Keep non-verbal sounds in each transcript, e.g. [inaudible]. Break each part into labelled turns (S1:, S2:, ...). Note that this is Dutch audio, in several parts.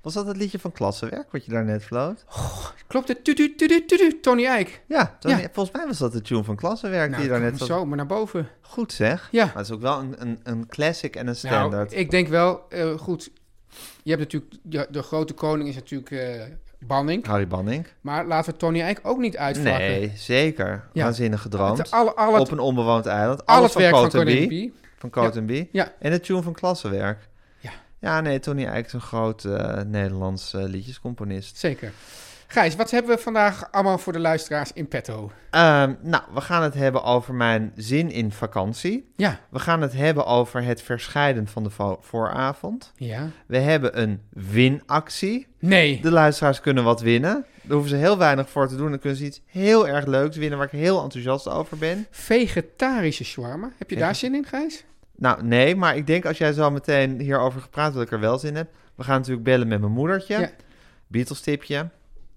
S1: Was dat het liedje van Klassenwerk wat je daarnet floot?
S2: Klopt het? Tu, tu, tu, tu, tu, tu, Tony Eijk.
S1: Ja, Tony,
S2: Ja.
S1: volgens mij was dat de tune van Klassenwerk
S2: Nou,
S1: die je daarnet
S2: kom
S1: floot.
S2: zo, maar naar boven.
S1: Goed zeg.
S2: Ja.
S1: Maar het is ook wel een, een, een classic en een
S2: Nou,
S1: standaard.
S2: ik denk wel, eh, goed, je hebt natuurlijk, de, de grote koning is natuurlijk eh, Banning.
S1: Harry Banning.
S2: Maar laten we Tony Eijk ook niet uitvlakken.
S1: Nee, zeker.
S2: Ja.
S1: Waanzinnig gedroomd.
S2: Het- alle- alle-
S1: Op een onbewoond eiland.
S2: Al
S1: Alles
S2: het werk
S1: van
S2: van
S1: Cote
S2: Koningin
S1: Bie.
S2: Bie.
S1: Van Cote Bie.
S2: Ja.
S1: En de tune van Klassenwerk.
S2: Ja.
S1: Ja, nee, Tony Eijk is een groot eh, Nederlands eh, liedjescomponist.
S2: Zeker. Gijs, wat hebben we vandaag allemaal voor de luisteraars in petto?
S1: Ehm, nou, we gaan het hebben over mijn zin in vakantie.
S2: Ja.
S1: We gaan het hebben over het verscheiden van de vo- vooravond.
S2: Ja.
S1: We hebben een winactie.
S2: Nee.
S1: De luisteraars kunnen wat winnen. Daar hoeven ze heel weinig voor te doen. Dan kunnen ze iets heel erg leuks winnen waar ik heel enthousiast over ben.
S2: Vegetarische shawarma. Heb je daar zin in, Gijs?
S1: Nou, nee, maar ik denk als jij zo meteen hierover gepraat hebt, dat ik er wel zin in heb. We gaan natuurlijk bellen met mijn moedertje.
S2: Ja.
S1: Beatles-tipje.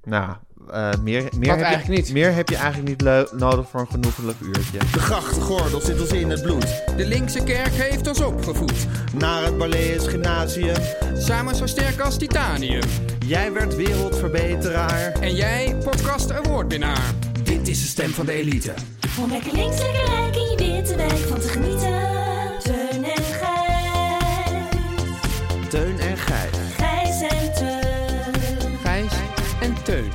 S1: Nou, eh, meer, meer, heb
S2: eigenlijk
S1: je,
S2: niet.
S1: meer heb je eigenlijk niet leu- nodig voor een genoegelijk uurtje.
S3: De grachtgordel zit ons in het bloed.
S4: De linkse kerk heeft ons opgevoed.
S3: Naar het Balees Gymnasium.
S4: Samen zo sterk als titanium.
S3: Jij werd wereldverbeteraar.
S4: En jij, podcast awardwinnaar. Dit is de stem van de elite.
S5: Om lekker links, lekker rijk in je witte wijk van te genieten. Teun en Gijs.
S3: Teun en Gijs.
S5: Gijs en Teun.
S2: Gijs en Teun.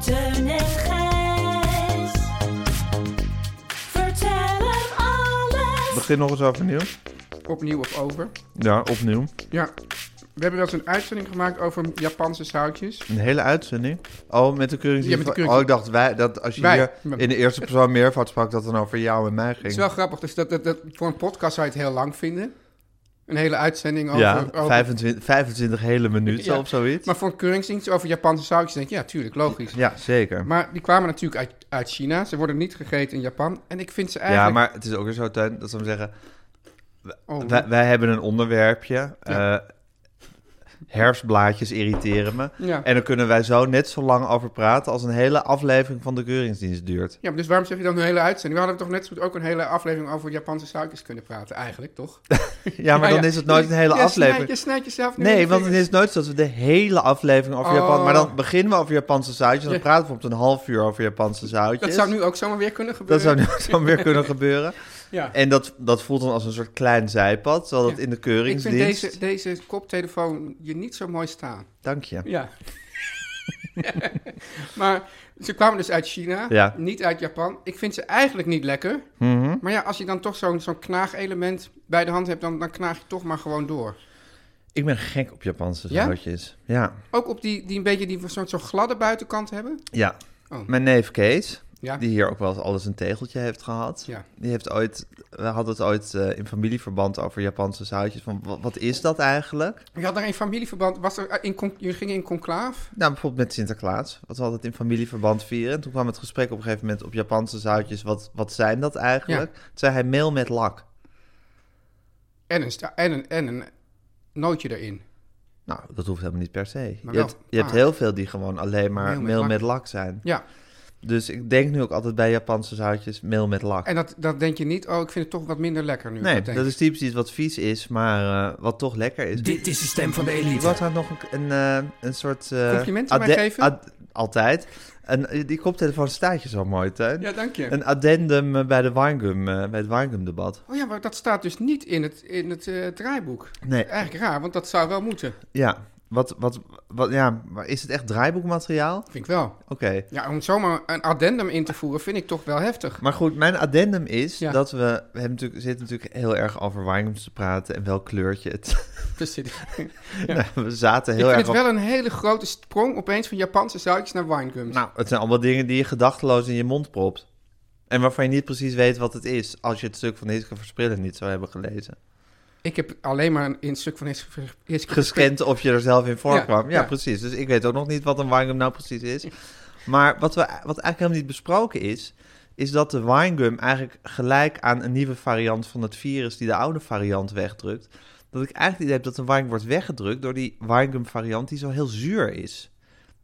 S5: Teun en Gijs. Vertel hem alles.
S1: Begin nog eens overnieuw.
S2: Opnieuw of over.
S1: Ja, opnieuw.
S2: Ja. We hebben wel eens een uitzending gemaakt over Japanse zoutjes.
S1: Een hele uitzending. Oh, met de keuringsdienst.
S2: Ja, met de
S1: van-
S2: keuring-
S1: Oh, ik dacht wij, dat als je
S2: Wij.
S1: hier in de eerste persoon meervoud sprak, dat dan over jou en mij ging.
S2: Het is wel grappig. Dus dat, dat, dat- voor een podcast zou je het heel lang vinden. Een hele uitzending over...
S1: ja,
S2: over-
S1: 25, 25 hele minuten
S2: Ja,
S1: of zoiets.
S2: Maar voor een keuringsdienst over Japanse zoutjes denk je, ja, tuurlijk, logisch.
S1: Ja, zeker.
S2: Maar die kwamen natuurlijk uit, uit China. Ze worden niet gegeten in Japan. En ik vind ze
S1: ja,
S2: eigenlijk...
S1: maar het is ook weer zo, Teun, dat ze hem zeggen...
S2: Oh,
S1: Wij, wij hebben een onderwerpje.
S2: Ja.
S1: eh, herfstblaadjes irriteren me.
S2: Ja.
S1: En dan kunnen wij zo net zo lang over praten als een hele aflevering van de keuringsdienst duurt.
S2: Ja, maar dus waarom zeg je dan een hele uitzending? We hadden toch net zo goed ook een hele aflevering over Japanse suikers kunnen praten, eigenlijk, toch?
S1: Ja, maar
S2: Ja,
S1: dan
S2: ja.
S1: is het nooit een hele
S2: Je
S1: aflevering.
S2: Snijdt, je snijdt jezelf nu in
S1: Nee,
S2: de
S1: want dan is
S2: vingers.
S1: het nooit zo dat we de hele aflevering over
S2: Oh.
S1: Japan... Maar dan beginnen we over Japanse zoutjes en dan
S2: Ja.
S1: praten we op een half uur over Japanse zoutjes.
S2: Dat zou nu ook zomaar weer kunnen
S1: Dat
S2: gebeuren.
S1: zou nu [laughs] ook zo weer kunnen gebeuren.
S2: Ja.
S1: En dat, dat voelt dan als een soort klein zijpad, terwijl dat
S2: Ja.
S1: in de
S2: Ik vind
S1: keuringsdienst...
S2: deze, deze koptelefoon je niet zo mooi staan.
S1: Dank je.
S2: Ja. [laughs] maar ze kwamen dus uit China,
S1: Ja. Mhm.
S2: niet uit Japan. Ik vind ze eigenlijk niet lekker. Maar ja, als je dan toch zo'n zo'n knaagelement bij de hand hebt, dan, dan knaag je toch maar gewoon door.
S1: Ik ben gek op Japanse
S2: Ja?
S1: zoutjes. Ja.
S2: Ook op die, die een beetje die soort zo'n gladde buitenkant hebben.
S1: Ja.
S2: Oh.
S1: Mijn neef Kees,
S2: Ja.
S1: die hier ook wel eens alles een tegeltje heeft gehad.
S2: Ja.
S1: Die heeft ooit, we hadden het ooit eh, in familieverband over Japanse zoutjes. Van, wa- wat is dat eigenlijk?
S2: Je had daar een familieverband. Was er, eh, in, con- jullie gingen in conclaaf?
S1: Nou, bijvoorbeeld met Sinterklaas. Wat we altijd in familieverband vieren. En toen kwam het gesprek op een gegeven moment op Japanse zoutjes. Wat, wat zijn dat eigenlijk? Toen zei hij meel met lak.
S2: En een, sta- en een, en een nootje erin.
S1: Nou, dat hoeft helemaal niet per se. Je,
S2: wel
S1: hebt, je hebt
S2: vaak.
S1: heel veel die gewoon alleen maar meel,
S2: Meel met
S1: met,
S2: lak.
S1: lak zijn.
S2: Ja.
S1: Dus ik denk nu ook altijd bij Japanse zoutjes meel met lak.
S2: En dat, dat denk je niet, oh, ik vind het toch wat minder lekker nu.
S1: nee,
S2: denk
S1: dat
S2: ik.
S1: is typisch iets wat vies is, maar eh, wat toch lekker is.
S4: Dit is de stem van de
S1: Ik
S4: elite.
S1: wou trouwens nog een, een, eh, een soort... eh,
S2: Complimentje
S1: adde-
S2: mij geven?
S1: ad- altijd. En eh, die koptelefoon staat je zo mooi, Teun.
S2: Ja, dank je.
S1: Een addendum eh, bij, de Weingum, eh, bij het Weingum-debat.
S2: Oh ja, maar dat staat dus niet in het, in het eh, draaiboek.
S1: Nee,
S2: Eigenlijk raar, want dat zou wel moeten.
S1: ja. Wat, wat, wat, ja, maar is het echt draaiboekmateriaal? Oké.
S2: Vind ik wel. Ja, om zomaar een addendum in te voeren vind ik toch wel heftig. [laughs]
S1: Maar goed, mijn addendum is
S2: Ja.
S1: dat we... We hebben natuurlijk, zitten natuurlijk heel erg over Weingums te praten en welk kleurtje het...
S2: Dus dit- ik
S1: [laughs] we zaten heel
S2: vind
S1: erg
S2: het
S1: op...
S2: wel een hele grote sprong opeens van Japanse zoutjes naar winegums.
S1: Nou, het zijn allemaal dingen die je gedachteloos in je mond propt. En waarvan je niet precies weet wat het is... als je het stuk van Hiske Versprillen niet zou hebben gelezen.
S2: Ik heb alleen maar een, in het stuk van Hiske Vers- Hiske
S1: gescand of je er zelf in voorkwam.
S2: Ja,
S1: Ja,
S2: ja.
S1: precies. Dus ik weet ook nog niet wat een winegum nou precies is. Maar wat, we, wat eigenlijk helemaal niet besproken is... is dat de winegum eigenlijk gelijk aan een nieuwe variant van het virus... die de oude variant wegdrukt. Dat ik eigenlijk het idee heb dat een winegum wordt weggedrukt... door die winegum variant die zo heel zuur is.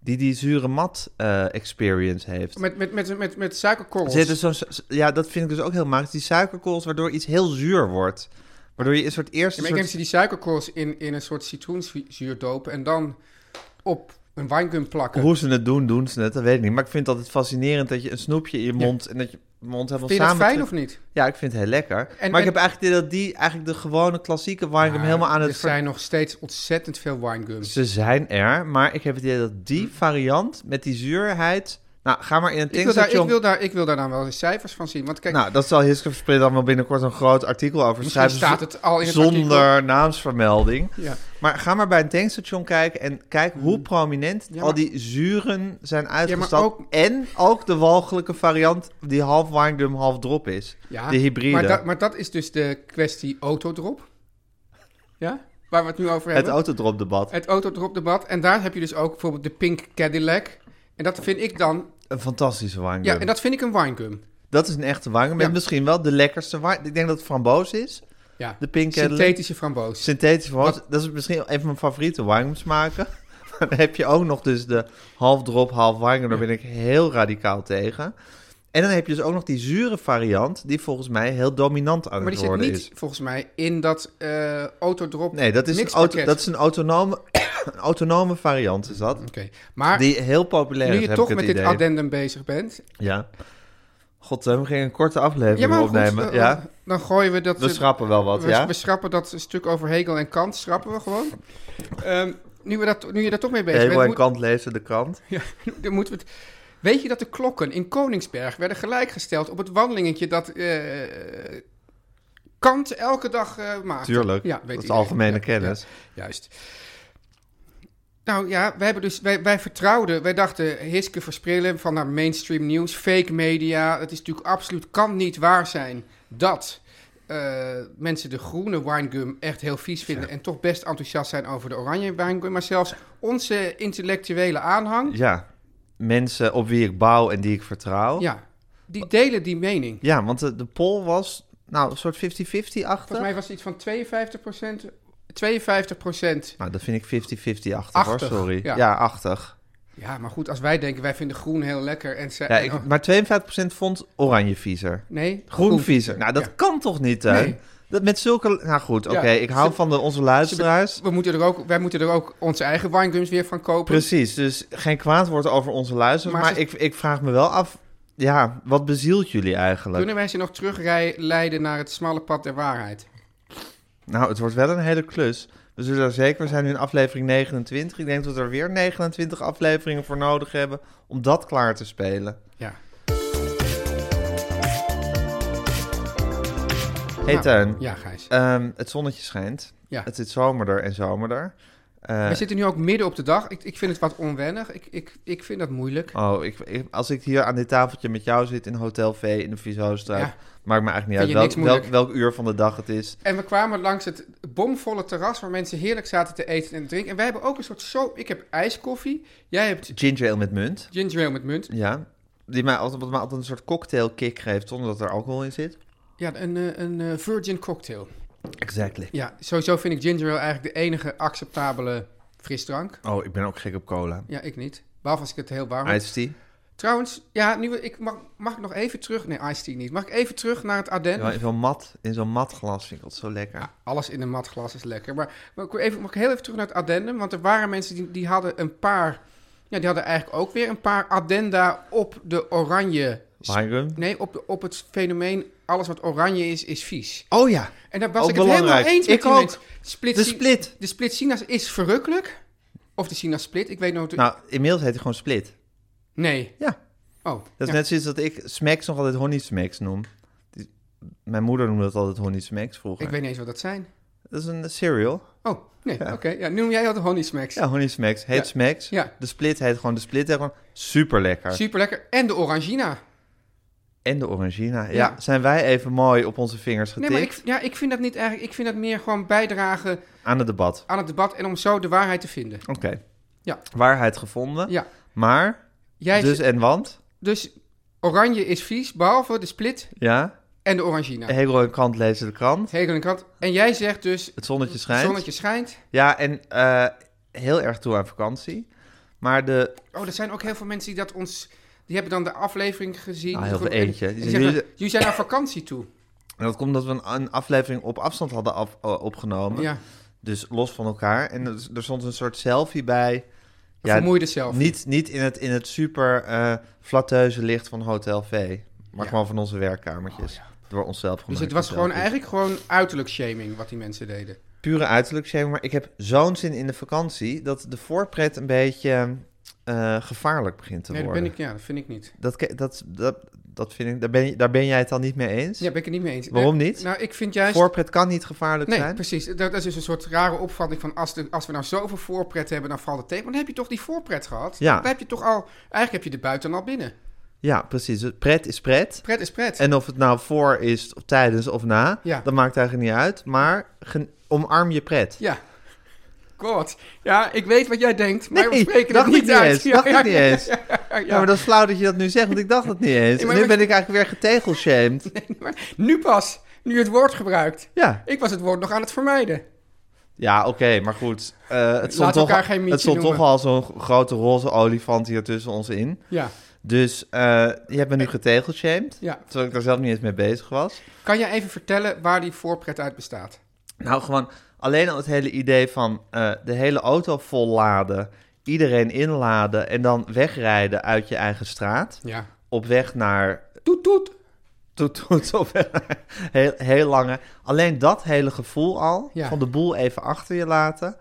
S1: Die die zure mat eh, experience heeft.
S2: Met, met, met, met, met
S1: Er dus
S2: suikerkorrels.
S1: zitten zo'n- ja, dat vind ik dus ook heel magisch. Die suikerkorrels waardoor iets heel zuur wordt. Waardoor je een soort
S2: Ja,
S1: eerste...
S2: maar ik denk dat
S1: soort...
S2: ze die suikerkorrels in, in een soort citroenzuur dopen en dan op een winegum plakken.
S1: Hoe ze het doen, doen ze het, dat weet ik niet. Maar ik vind het altijd fascinerend dat je een snoepje in je mond en dat je mond helemaal
S2: Vind je dat
S1: samen.
S2: fijn of niet?
S1: Ja, ik vind het heel lekker. maar
S2: en-
S1: ik heb eigenlijk het idee dat die eigenlijk de gewone klassieke wine
S2: Maar
S1: helemaal aan
S2: Ah, Er
S1: het ver-
S2: zijn nog steeds ontzettend veel winegums.
S1: Ze zijn er, maar ik heb het idee dat die variant met die zuurheid. Nou, ga maar in een
S2: Hm. Ik wil, daar, ik,
S1: tankstation.
S2: wil daar, ik wil daar dan wel eens cijfers van zien. Want kijk,
S1: Nou, dat zal Hiske Verspreid dan wel binnenkort een groot artikel over
S2: misschien
S1: schrijven.
S2: staat het al in het
S1: zonder
S2: artikel.
S1: naamsvermelding.
S2: Ja. Hmm.
S1: Maar ga maar bij een tankstation kijken en kijk hoe prominent
S2: Ja, maar-
S1: al die zuren zijn uitgestapt.
S2: ook-
S1: En ook de walgelijke variant die half winegum, half drop is.
S2: Ja,
S1: de hybride.
S2: Maar, dat- maar dat is dus de kwestie autodrop. Ja? Waar we het nu over
S1: Het
S2: hebben.
S1: autodropdebat.
S2: het autodropdebat. En daar heb je dus ook bijvoorbeeld de pink Cadillac. En dat vind ik dan...
S1: Een fantastische winegum.
S2: Ja, en
S1: dat...
S2: dat vind ik een winegum.
S1: is een echte winegum.
S2: Ja.
S1: En misschien wel de lekkerste winegum. Ik denk dat het framboos is.
S2: Ja.
S1: De pink Cadillac.
S2: Synthetische framboos.
S1: Synthetisch framboos. Dat is misschien een van mijn favoriete winegum smaken. [laughs] Maar dan heb je ook nog dus de half drop, half winegum. Daar ben ik heel radicaal tegen. En dan heb je dus ook nog die zure variant, die volgens mij heel dominant aan
S2: Maar
S1: het
S2: die zit
S1: worden
S2: niet,
S1: is.
S2: volgens mij, in dat eh autodrop
S1: Nee, dat is, een,
S2: mixpakket.
S1: auto, dat is een, autonome, [coughs] een autonome variant, is dat?
S2: Oké, maar
S1: Die heel populair
S2: nu
S1: is,
S2: je
S1: heb
S2: toch
S1: ik
S2: met
S1: het
S2: dit
S1: idee.
S2: addendum bezig bent...
S1: Ja. God, eh, we gingen een korte aflevering
S2: Ja, maar goed,
S1: opnemen.
S2: eh,
S1: ja,
S2: dan gooien we dat...
S1: we schrappen wel wat,
S2: we,
S1: ja?
S2: we schrappen dat stuk over Hegel en Kant, schrappen we gewoon. Ehm, nu, we dat, nu je daar toch mee bezig
S1: Hegel
S2: bent,
S1: en
S2: moet-
S1: Kant lezen de krant.
S2: [laughs] dan moeten we het... Weet je dat de klokken in Koningsberg werden gelijkgesteld op het wandelingetje dat eh, Kant elke dag eh maakte?
S1: Tuurlijk,
S2: Ja, weet
S1: dat is
S2: iedereen.
S1: algemene
S2: Ja,
S1: kennis.
S2: ja, juist. Nou ja, wij, hebben dus, wij, wij vertrouwden, wij dachten Hiske versprillen van naar mainstream nieuws, fake media. Het is natuurlijk absoluut, kan niet waar zijn dat eh, mensen de groene winegum echt heel vies vinden en toch best enthousiast zijn over de oranje winegum. Maar zelfs onze intellectuele aanhang,
S1: Ja, mensen op wie ik bouw en die ik vertrouw.
S2: ja, die delen die mening.
S1: Ja, want de, de poll was, nou, een soort 50-50 achter.
S2: Volgens mij was het iets van 52 52
S1: Nou, dat vind ik 50-50 achter, hoor,
S2: Achtig,
S1: sorry.
S2: ja.
S1: Ja, achtig.
S2: Ja, maar goed, als wij denken, wij vinden groen heel lekker en ze...
S1: Ja,
S2: en-
S1: ik,
S2: oh,
S1: maar 52% vond oranje viezer.
S2: nee,
S1: Groen viezer. Nou, dat
S2: Ja.
S1: kan toch niet, hè?
S2: Nee.
S1: Dat met zulke... Nou goed, oké,
S2: Ja,
S1: ik hou
S2: ze-
S1: van de, onze luisteraars.
S2: We moeten er ook, wij moeten er ook onze eigen winegums weer van kopen.
S1: Precies, dus geen kwaad woord over onze luisteraars.
S2: Maar
S1: Maar,
S2: ze-
S1: ik, ik vraag me wel af, ja, wat bezielt jullie eigenlijk?
S2: Kunnen wij ze nog terugleiden naar het smalle pad der waarheid?
S1: Nou, het wordt wel een hele klus. We zullen er zeker, we zijn nu in aflevering 29. Ik denk dat we er weer 29 afleveringen voor nodig hebben om dat klaar te spelen.
S2: Ja.
S1: hey, Tuin,
S2: Nou, Ja, Gijs.
S1: Ehm, het zonnetje schijnt.
S2: Ja.
S1: Het is zomerder en zomerder. Eh,
S2: we zitten nu ook midden op de dag. Ik, ik vind het wat onwennig. Ik, ik, ik vind dat moeilijk.
S1: Oh, ik, ik- als ik hier aan dit tafeltje met jou zit in Hotel V in de Vizostraat,
S2: Ja.
S1: maakt me eigenlijk niet
S2: Vind
S1: uit
S2: je
S1: welk,
S2: niks moeilijk?
S1: welk, welk uur van de dag het is.
S2: En we kwamen langs het bomvolle terras waar mensen heerlijk zaten te eten en te drinken. En wij hebben ook een soort zo. Ik heb ijskoffie. Jij hebt
S1: Ginger ale met munt.
S2: ginger ale met munt.
S1: Ja. Die mij altijd, wat mij altijd een soort cocktailkick geeft zonder dat er alcohol in zit.
S2: Ja, een, eh, een eh, virgin cocktail.
S1: Exactly.
S2: Ja, sowieso vind ik ginger ale eigenlijk de enige acceptabele frisdrank.
S1: Oh, ik ben ook gek op cola.
S2: Ja, ik niet. Behalve als ik het heel warm heb.
S1: Iced tea.
S2: Trouwens, ja, nu, we- ik mag, mag ik nog even terug... Nee, Ice-T niet. Mag ik even terug naar het ADN?
S1: Ja, in zo'n mat, in zo'n mat glas vind ik dat zo lekker.
S2: Ja, alles in een mat glas is lekker. Maar, maar ik wil even, mag ik heel even terug naar het addendum? Want er waren mensen die, die hadden een paar... Ja, die hadden eigenlijk ook weer een paar addenda op de oranje...
S1: Weingum?
S2: Nee, op, de, op het fenomeen alles wat oranje is, is vies.
S1: Oh ja.
S2: En daar was
S1: Ook
S2: ik het
S1: belangrijk.
S2: helemaal eens met
S1: Ik
S2: die
S1: ook.
S2: mensen. Split,
S1: De split.
S2: De split Sinaas is verrukkelijk. Of de Sinaas split, ik weet nooit...
S1: Nou, inmiddels heet hij gewoon split.
S2: nee.
S1: Ja.
S2: Oh,
S1: Dat is
S2: ja.
S1: net zoiets dat ik smacks nog altijd honey smacks noem. Die- Mijn moeder noemde dat altijd honey smacks vroeger.
S2: ik weet niet eens wat dat zijn.
S1: Dat is een cereal.
S2: Oh, nee, oké. Ja, noem jij dat honey smacks.
S1: Ja, honey smacks. Heet
S2: Ja.
S1: smacks.
S2: Ja.
S1: De split heet gewoon de split. Heet gewoon super lekker.
S2: Super lekker. En de orangina.
S1: En de orangina. Ja.
S2: Ja.
S1: zijn wij even mooi op onze vingers
S2: Nee,
S1: getikt
S2: maar ik, ja, ik vind dat niet eigenlijk. Ik vind dat meer gewoon bijdragen
S1: aan het debat.
S2: aan het debat en om zo de waarheid te vinden.
S1: Oké.
S2: Ja.
S1: Waarheid gevonden.
S2: Ja.
S1: Maar,
S2: Jij
S1: dus
S2: z-
S1: en want.
S2: dus oranje is vies, behalve de split
S1: Ja.
S2: en de orangina.
S1: Hegel en Kant lezen de krant.
S2: Hegel en Kant. En jij zegt dus,
S1: Het zonnetje schijnt.
S2: zonnetje schijnt.
S1: Ja, en eh, heel erg toe aan vakantie. Maar de...
S2: Oh, er zijn ook heel veel mensen die dat ons... Die hebben dan de aflevering gezien.
S1: Nou, heel veel
S2: En- en
S1: eentje.
S2: die
S1: Die
S2: zeggen,
S1: zeggen-
S2: jullie zijn naar vakantie toe.
S1: en dat komt omdat we een, een aflevering op afstand hadden af- eh, opgenomen.
S2: Ja,
S1: Dus los van elkaar. En er, er stond een soort selfie bij.
S2: vermoeide zelf.
S1: Niet, niet in het, in het super eh flatteuze licht van Hotel V. Maar
S2: Ja. Oh,
S1: gewoon van onze werkkamertjes. Door onszelf gemaakt.
S2: Dus het was gewoon
S1: selfies.
S2: eigenlijk gewoon uiterlijk shaming wat die mensen deden.
S1: Pure uiterlijk shaming. Maar ik heb zo'n zin in de vakantie... dat de voorpret een beetje eh, gevaarlijk begint te
S2: Nee, dat,
S1: worden.
S2: ben ik, ja, dat vind ik niet.
S1: Dat, ke- dat, dat, dat vind ik, daar, ben, je- daar ben jij het dan niet mee eens?
S2: Ja, ben ik het niet mee eens.
S1: Waarom
S2: Nee,
S1: niet?
S2: Nou, ik vind juist...
S1: Voorpret kan niet gevaarlijk
S2: Nee,
S1: zijn.
S2: precies. Dat, dat is dus een soort rare opvatting van als, de, als we nou zoveel voorpret hebben, dan valt het tegen. Maar dan heb je toch die voorpret gehad?
S1: Ja.
S2: Dan heb je toch al, eigenlijk heb je de buiten al binnen.
S1: Ja, precies. Dus Pret is pret.
S2: Pret is pret.
S1: En of het nou voor is, of tijdens of na,
S2: Ja.
S1: dat maakt eigenlijk niet uit. Maar gen- omarm je pret.
S2: Ja. God. Ja, ik weet wat jij denkt, maar we
S1: Nee,
S2: spreken het
S1: dacht
S2: niet,
S1: ik niet
S2: uit.
S1: eens,
S2: Ja,
S1: dacht
S2: ja,
S1: ik niet
S2: ja,
S1: eens.
S2: ja, ja, ja.
S1: Ja, maar dat is flauw dat je dat nu zegt, want ik dacht
S2: [laughs]
S1: dat niet eens.
S2: Nee, maar
S1: en nu
S2: we-
S1: ben ik eigenlijk weer getegelshamed.
S2: Nee, maar nu pas, nu het woord gebruikt.
S1: Ja,
S2: Ik was het woord nog aan het vermijden.
S1: ja oké, maar goed. Eh, het stond, toch,
S2: elkaar geen mietje
S1: het stond toch
S2: noemen.
S1: al zo'n g- grote roze olifant hier tussen ons in.
S2: Ja.
S1: Dus eh je hebt me nu getegelshamed,
S2: ja.
S1: terwijl ik daar zelf niet eens mee bezig was.
S2: Kan jij even vertellen waar die voorpret uit bestaat?
S1: Nou, gewoon alleen al het hele idee van eh, de hele auto vol laden, iedereen inladen en dan wegrijden uit je eigen straat.
S2: Ja.
S1: Op weg naar. [laughs]
S2: Toet toet.
S1: Toet, toet, op weg naar- heel, heel lange. Alleen dat hele gevoel al,
S2: Ja.
S1: van de boel even achter je laten.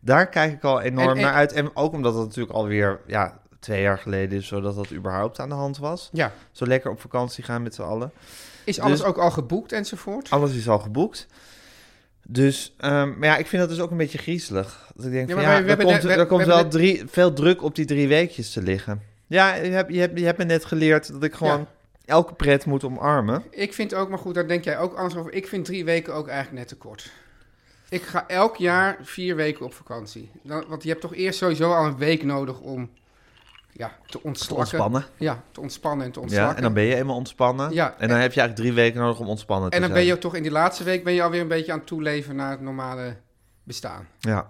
S1: Daar kijk ik al enorm
S2: En- en-
S1: naar uit. En ook omdat dat natuurlijk alweer ja, twee jaar geleden is, zodat dat überhaupt aan de hand was.
S2: Ja.
S1: Zo lekker op vakantie gaan met z'n allen.
S2: Is alles
S1: Dus-
S2: ook al geboekt enzovoort?
S1: Alles is al geboekt. Dus, ehm, maar ja, ik vind dat dus ook een beetje griezelig. Dat ik denk,
S2: Ja,
S1: van,
S2: maar
S1: ja,
S2: we- we
S1: er
S2: hebben
S1: komt,
S2: net- we-
S1: er komt
S2: we
S1: wel
S2: hebben
S1: drie, veel druk op die drie weekjes te liggen. Ja, je hebt, je hebt, je hebt me net geleerd dat ik gewoon
S2: Ja.
S1: elke pret moet omarmen.
S2: Ik vind ook, maar goed, daar denk jij ook anders over. Ik vind drie weken ook eigenlijk net te kort. Ik ga elk jaar vier weken op vakantie. Dan, want je hebt toch eerst sowieso al een week nodig om ja, te ontslakken.
S1: Ontspannen.
S2: Ja, te ontspannen en te
S1: Ja,
S2: ontslakken.
S1: en dan ben je eenmaal ontspannen.
S2: Ja.
S1: En dan heb je eigenlijk drie weken nodig om ontspannen te
S2: En dan
S1: zijn.
S2: ben je toch in die laatste week ben je alweer een beetje aan het toeleven naar het normale bestaan.
S1: Ja.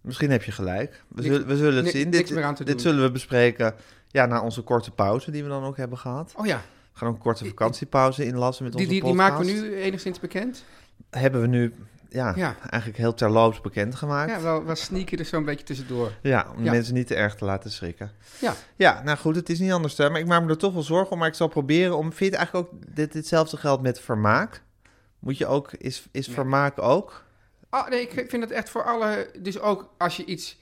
S1: Misschien heb je gelijk. We
S2: Niks-
S1: zullen, we zullen het
S2: ni-
S1: zien.
S2: niks
S1: dit
S2: meer aan te
S1: dit
S2: doen.
S1: zullen we bespreken ja, na onze korte pauze die we dan ook hebben gehad.
S2: Oh ja,
S1: We gaan ook een korte vakantiepauze inlassen met
S2: die,
S1: onze
S2: die, die
S1: podcast.
S2: maken we nu enigszins bekend.
S1: hebben we nu ja,
S2: Ja.
S1: eigenlijk heel terloops bekendgemaakt.
S2: Ja,
S1: Ja,
S2: wel, wel sneaken er zo'n beetje tussendoor.
S1: om de
S2: Ja.
S1: mensen niet te erg te laten schrikken.
S2: Ja.
S1: Ja, nou goed, het is niet anders. Hè? Maar ik maak me er toch wel zorgen om. Maar ik zal proberen om... Vind je het eigenlijk ook dit, ditzelfde geldt met vermaak? Moet je ook... Is, is vermaak ook?
S2: Ah, nee, ik vind het echt voor alle... Dus ook als je iets,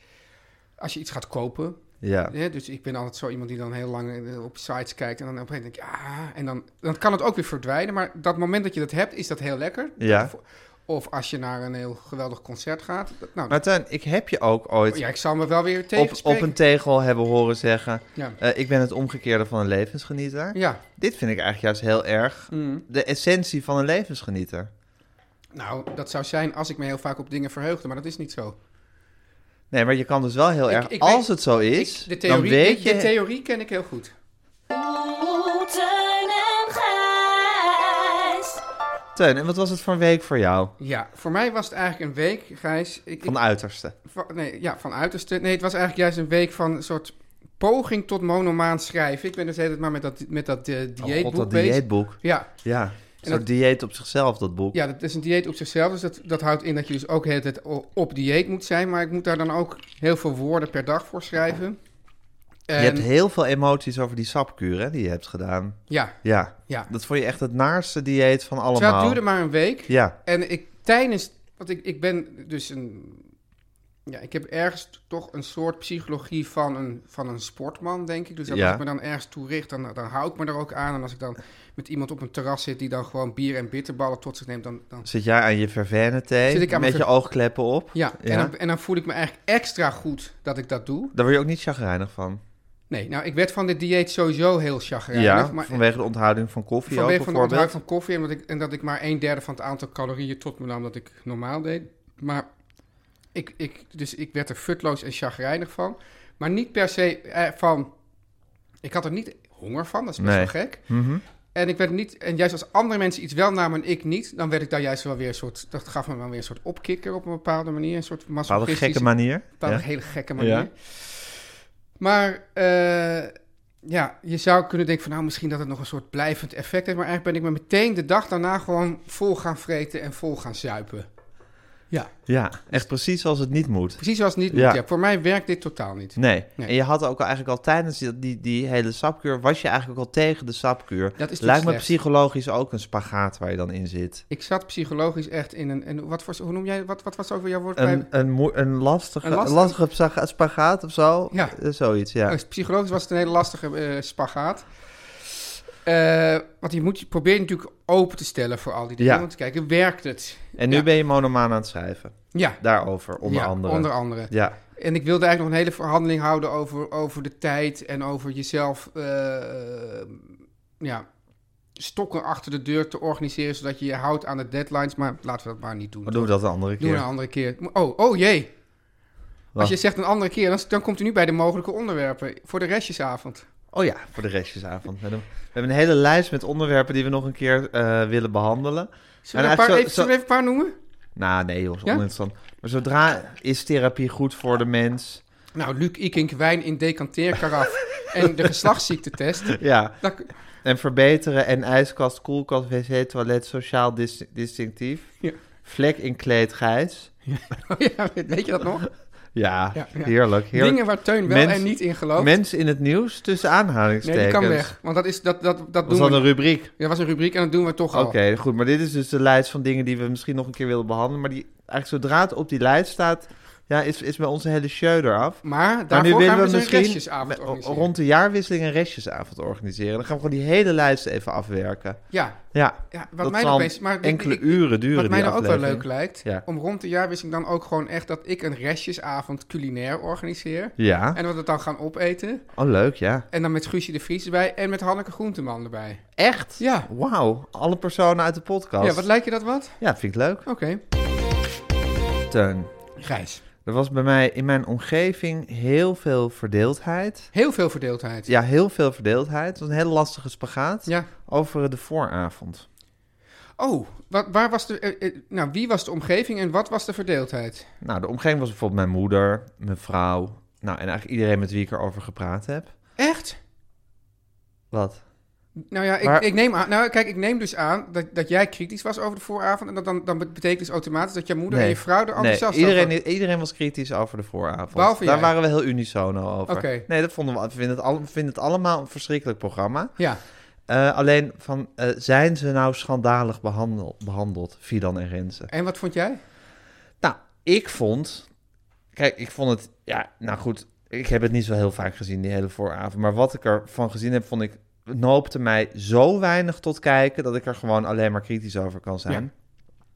S2: als je iets gaat kopen,
S1: Ja.
S2: Ja, dus ik ben altijd zo iemand die dan heel lang eh, op sites kijkt en dan op een gegeven moment denk ik, ja, en dan, dan kan het ook weer verdwijnen. Maar dat moment dat je dat hebt, is dat heel lekker.
S1: Ja.
S2: Of, of als je naar een heel geweldig concert gaat. dat- Nou,
S1: Maar Tuin, ik heb je ook ooit
S2: Oh ja, ik zal me wel weer
S1: op,
S2: tegenspreken.
S1: op een tegel hebben horen zeggen...
S2: Ja.
S1: eh, ik ben het omgekeerde van een levensgenieter.
S2: Ja, Mm.
S1: Dit vind ik eigenlijk juist heel erg de essentie van een levensgenieter.
S2: nou, dat zou zijn als ik me heel vaak op dingen verheugde, maar dat is niet zo.
S1: Nee, maar je kan dus wel heel
S2: Ik-
S1: erg...
S2: ik
S1: als
S2: weet-
S1: het zo is,
S2: Ik- de
S1: dan
S2: theorie,
S1: weet
S2: de,
S1: je...
S2: de theorie ken ik heel goed.
S5: Oeh, Teun en Gijs.
S1: Teun, en wat was het voor een week voor jou?
S2: Ja, voor mij was het eigenlijk een week, Gijs. Ik,
S1: Van de uiterste.
S2: ik- van- nee, ja, van uiterste. Nee, het was eigenlijk juist een week van een soort poging tot monomaan schrijven. Ik ben dus de hele tijd maar met dat, met dat eh,
S1: Oh
S2: dieetboek
S1: god, dat
S2: bezig.
S1: dieetboek.
S2: Ja,
S1: Ja, een soort
S2: dat-
S1: dieet op zichzelf, dat boek.
S2: ja, dat is een dieet op zichzelf. Dus dat, dat houdt in dat je dus ook de hele tijd o- op dieet moet zijn. Maar ik moet daar dan ook heel veel woorden per dag voor schrijven. En,
S1: Je hebt heel veel emoties over die sapkuur hè, die je hebt gedaan.
S2: Ja,
S1: Ja.
S2: ja.
S1: Dat vond je echt het naarste dieet van allemaal.
S2: Terwijl het duurde maar een week.
S1: Ja.
S2: En ik tijdens, want ik, ik ben dus een, ja, ik heb ergens t- toch een soort psychologie van een, van een sportman, denk ik. Dus dat
S1: Ja.
S2: als ik me dan ergens toe richt, dan, dan hou ik me er ook aan. En als ik dan met iemand op een terras zit die dan gewoon bier en bitterballen tot zich neemt, dan... dan
S1: Zit jij aan je vervene thee,
S2: Zit ik aan
S1: met
S2: mijn
S1: je
S2: ver-
S1: oogkleppen op.
S2: ja,
S1: Ja.
S2: En, dan, en dan voel ik me eigenlijk extra goed dat ik dat doe.
S1: Daar word je ook niet chagrijnig van.
S2: Nee, nou, ik werd van dit dieet sowieso heel chagrijnig.
S1: ja,
S2: maar,
S1: vanwege de onthouding van koffie ook
S2: vanwege van de
S1: bijvoorbeeld.
S2: onthoud van koffie en dat, ik, en dat ik maar een derde van het aantal calorieën tot me nam dat ik normaal deed. Maar ik, ik, dus ik werd er futloos en chagrijnig van. Maar niet per se eh, van... Ik had er niet honger van, dat is best
S1: Nee.
S2: wel gek.
S1: Mhm.
S2: En ik werd niet... En juist als andere mensen iets wel namen en ik niet... dan werd ik daar juist wel weer een soort... dat gaf me wel weer een soort opkikker op een bepaalde manier. Een soort
S1: Op een
S2: masochistische
S1: gekke manier.
S2: op een
S1: Ja.
S2: hele gekke manier.
S1: Ja.
S2: Maar eh, ja, je zou kunnen denken van nou misschien dat het nog een soort blijvend effect heeft. Maar eigenlijk ben ik me meteen de dag daarna gewoon vol gaan vreten en vol gaan zuipen. Ja,
S1: ja, echt precies zoals het niet moet.
S2: precies zoals het niet moet.
S1: Ja.
S2: Ja. Voor mij werkt dit totaal niet.
S1: Nee.
S2: Nee.
S1: En je had ook al- eigenlijk al tijdens die, die, die hele sapkuur, was je eigenlijk ook al tegen de sapkuur.
S2: Dat is
S1: Lijkt
S2: natuurlijk
S1: me
S2: slecht.
S1: psychologisch ook een spagaat waar je dan in zit.
S2: Ik zat psychologisch echt in een... En wat voor, hoe noem jij... Wat, wat was over jouw woord?
S1: Een,
S2: bij-
S1: een, moe- een lastige,
S2: Een
S1: een
S2: lastige-
S1: lastige psa- spagaat of zo.
S2: Ja.
S1: Eh, Zoiets, ja.
S2: Eh, Psychologisch was het een hele lastige eh, spagaat. Eh, want je moet je proberen natuurlijk open te stellen voor al die dingen.
S1: Ja.
S2: Om te kijken, werkt het?
S1: En nu
S2: Ja.
S1: ben je monomaan aan het schrijven.
S2: Ja,
S1: Daarover, onder
S2: ja,
S1: andere.
S2: onder andere.
S1: Ja.
S2: En ik wilde eigenlijk nog een hele verhandeling houden over, over de tijd en over jezelf eh, ja, stokken achter de deur te organiseren, zodat je je houdt aan de deadlines. Maar laten we dat maar niet doen.
S1: Maar doen we dat een andere
S2: Doen
S1: keer.
S2: we een andere keer. Oh, oh jee.
S1: Wat?
S2: Als je zegt een andere keer, dan, dan komt u nu bij de mogelijke onderwerpen voor de restjesavond.
S1: Oh ja, voor de restjesavond. We hebben- we hebben een hele lijst met onderwerpen die we nog een keer eh, willen behandelen.
S2: Zullen we,
S1: En
S2: een paar,
S1: eigenlijk
S2: even,
S1: zo-
S2: zullen we even een paar noemen?
S1: Nou, nee, joh, is
S2: Ja?
S1: oninteressant. Maar zodra is therapie goed voor de mens?
S2: Nou, Luc Ikink, wijn in
S1: [laughs]
S2: decanteerkaraf en de geslachtsziektetest.
S1: Ja,
S2: [laughs] Dat,
S1: en verbeteren en ijskast, koelkast, wc, toilet, sociaal dis- distinctief.
S2: Ja.
S1: Vlek in kleed, grijs.
S2: Oh ja, weet je dat nog?
S1: Ja,
S2: Ja, ja.
S1: heerlijk, heerlijk.
S2: Dingen waar Teun wel
S1: Mens-
S2: en niet in gelooft.
S1: Mens in het nieuws, tussen
S2: Nee,
S1: aanhalingstekens.
S2: die kan weg. Want dat is dat dat dat
S1: Was dat
S2: doen we. Oh.
S1: een rubriek?
S2: Ja, was een rubriek en dat doen we toch
S1: Oké,
S2: al.
S1: goed. Maar dit is dus de lijst van dingen die we misschien nog een keer willen behandelen. Maar die eigenlijk zodra het op die lijst staat, ja, is, is bij onze hele show eraf.
S2: Maar
S1: Maar nu
S2: daarvoor
S1: willen
S2: gaan
S1: we
S2: we dus een
S1: misschien
S2: restjesavond
S1: met-
S2: organiseren.
S1: rond de jaarwisseling een restjesavond organiseren. Dan gaan we gewoon die hele lijst even afwerken.
S2: Ja,
S1: Ja,
S2: ja wat
S1: dat
S2: mij
S1: zal
S2: nou opeens, maar ik-
S1: enkele
S2: ik-
S1: uren duren
S2: wat mij
S1: die
S2: nou ook wel
S1: aflevering.
S2: leuk lijkt,
S1: Ja.
S2: om rond de jaarwisseling dan ook gewoon echt dat ik een restjesavond culinair organiseer.
S1: Ja,
S2: En dat we dat dan gaan opeten.
S1: oh leuk, ja.
S2: En dan met Guusje de Vries erbij en met Hanneke Groenteman erbij.
S1: Echt?
S2: Ja.
S1: Wauw, alle personen uit de podcast.
S2: Ja, wat lijkt je dat wat?
S1: Ja, vind ik leuk.
S2: Oké.
S1: Teun,
S2: Grijs.
S1: er was bij mij in mijn omgeving heel veel verdeeldheid.
S2: Heel veel verdeeldheid.
S1: Ja, heel veel verdeeldheid. Het was een hele lastige spagaat
S2: Ja.
S1: over de vooravond.
S2: Oh, wat, waar was de, eh, eh, nou, wie was de omgeving en wat was de verdeeldheid?
S1: Nou, de omgeving was bijvoorbeeld mijn moeder, mijn vrouw. Nou, en eigenlijk iedereen met wie ik erover gepraat heb.
S2: Echt?
S1: Wat?
S2: Nou ja, ik,
S1: Maar-
S2: ik neem aan, nou, kijk, ik neem dus aan dat, dat jij kritisch was over de vooravond. En dat dan, dan betekent dus automatisch dat jouw moeder
S1: Nee.
S2: en je vrouw er
S1: Nee,
S2: enthousiast
S1: iedereen,
S2: over...
S1: iedereen was kritisch over de vooravond.
S2: Behalve
S1: Daar
S2: jij.
S1: waren we heel unisono over.
S2: Oké.
S1: Nee, dat vonden we, we vinden het, al, we vinden het allemaal een verschrikkelijk programma.
S2: Ja,
S1: Eh, alleen van, eh, zijn ze nou schandalig behandeld, behandeld Fidan en Renze?
S2: en wat vond jij?
S1: Nou, ik vond... Kijk, ik vond het... Ja, nou goed, ik heb het niet zo heel vaak gezien, die hele vooravond. Maar wat ik ervan gezien heb, vond ik... Het noopte mij zo weinig tot kijken... dat ik er gewoon alleen maar kritisch over kan zijn.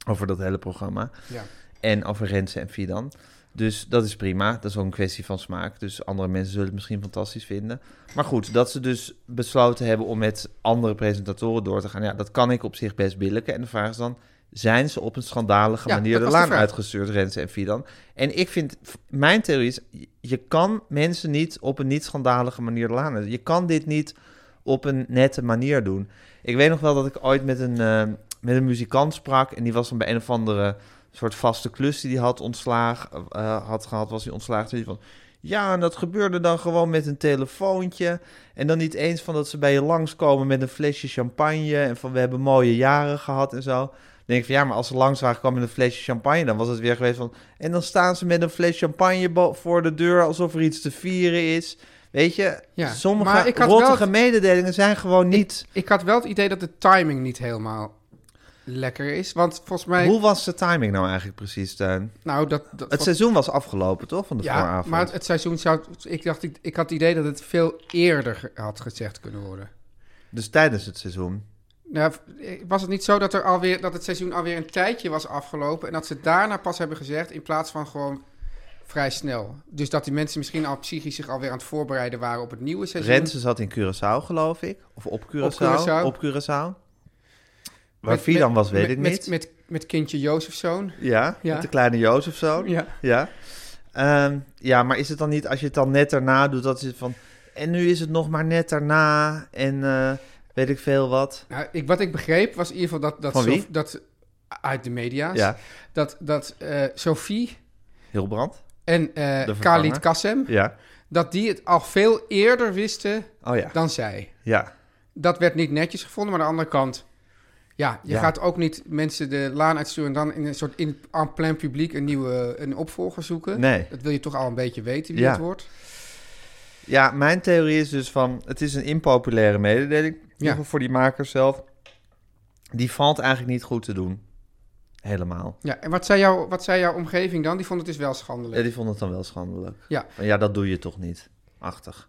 S1: Over dat hele programma.
S2: Ja.
S1: En over Renze en Fidan. Dus dat is prima. Dat is ook een kwestie van smaak. Dus andere mensen zullen het misschien fantastisch vinden. Maar goed, dat ze dus besloten hebben om met andere presentatoren door te gaan. Ja, dat kan ik op zich best billijken. En de vraag is dan, zijn ze op een schandalige
S2: Ja,
S1: manier
S2: dat
S1: de
S2: was de
S1: laan
S2: vraag.
S1: uitgestuurd, Renze en Fidan? En ik vind, mijn theorie is, je kan mensen niet op een niet schandalige manier de laan uit. Je kan dit niet op een nette manier doen. Ik weet nog wel dat ik ooit met een, eh, met een muzikant sprak. En die was dan bij een eh, of andere soort vaste klus die hij had ontslaag, eh, had gehad, was hij ontslaagd. Toen zei hij van, Ja, en dat gebeurde dan gewoon met een telefoontje. En dan niet eens van dat ze bij je langskomen met een flesje champagne. En van we hebben mooie jaren gehad en zo. Dan denk ik van ja, maar als ze langs waren gekomen met een flesje champagne, dan was het weer geweest van. En dan staan ze met een fles champagne bo- voor de deur alsof er iets te vieren is. Weet je,
S2: Ja,
S1: sommige
S2: maar ik had wel
S1: rottige
S2: het-
S1: mededelingen zijn gewoon niet.
S2: Ik had wel het idee dat de timing niet helemaal lekker is. Want volgens mij...
S1: Hoe was de timing nou eigenlijk precies, Tuin?
S2: Nou, dat, dat,
S1: Het seizoen was afgelopen, toch? Van de
S2: ja,
S1: vooravond.
S2: maar het, het seizoen zou... Ik, dacht, ik, ik had het idee dat het veel eerder ge- had gezegd kunnen worden.
S1: Dus tijdens het seizoen.
S2: Nou, was het niet zo dat, er alweer, dat het seizoen alweer een tijdje was afgelopen... en dat ze daarna pas hebben gezegd in plaats van gewoon vrij snel? Dus dat die mensen misschien al psychisch zich alweer aan het voorbereiden waren op het nieuwe seizoen.
S1: Rensen zat in Curaçao, geloof ik. Of op Curaçao. Op Curaçao.
S2: Dus Curaçao.
S1: Waar
S2: Met-
S1: Fidan
S2: met-
S1: was, weet
S2: met-
S1: ik
S2: met,
S1: niet.
S2: Met, met, kindje Jozefzoon.
S1: ja,
S2: Ja.
S1: met de kleine Jozefzoon. Ja.
S2: Ja.
S1: Ja. Ehm, ja, maar is het dan niet, als je het dan net daarna doet, dat is het van... En nu is het nog maar net daarna en eh, weet ik veel wat.
S2: Nou, ik, wat ik begreep was in ieder geval dat... dat
S1: Van wie?
S2: Sof- Dat, uit de media.
S1: Ja,
S2: Dat, dat eh Sophie
S1: Hilbrand.
S2: en eh,
S1: vervanger.
S2: Khalid Kassem...
S1: Ja.
S2: dat die het al veel eerder wisten
S1: Oh ja.
S2: dan zij.
S1: Ja.
S2: Dat werd niet netjes gevonden, maar aan de andere kant... Ja, je
S1: Ja.
S2: gaat ook niet mensen de laan uitsturen... en dan in een soort in en plein publiek een nieuwe een opvolger zoeken.
S1: Nee.
S2: Dat wil je toch al een beetje weten wie
S1: Ja.
S2: het wordt.
S1: Ja, mijn theorie is dus van... Het is een impopulaire mededeling. in ieder geval Voor die makers zelf. Die valt eigenlijk niet goed te doen. Helemaal.
S2: Ja, en wat zei, jouw wat zei jouw omgeving dan? Die vond het dus wel schandelijk.
S1: Ja, die vond het dan wel schandelijk.
S2: Ja.
S1: Van, ja, dat doe je toch niet. Achtig.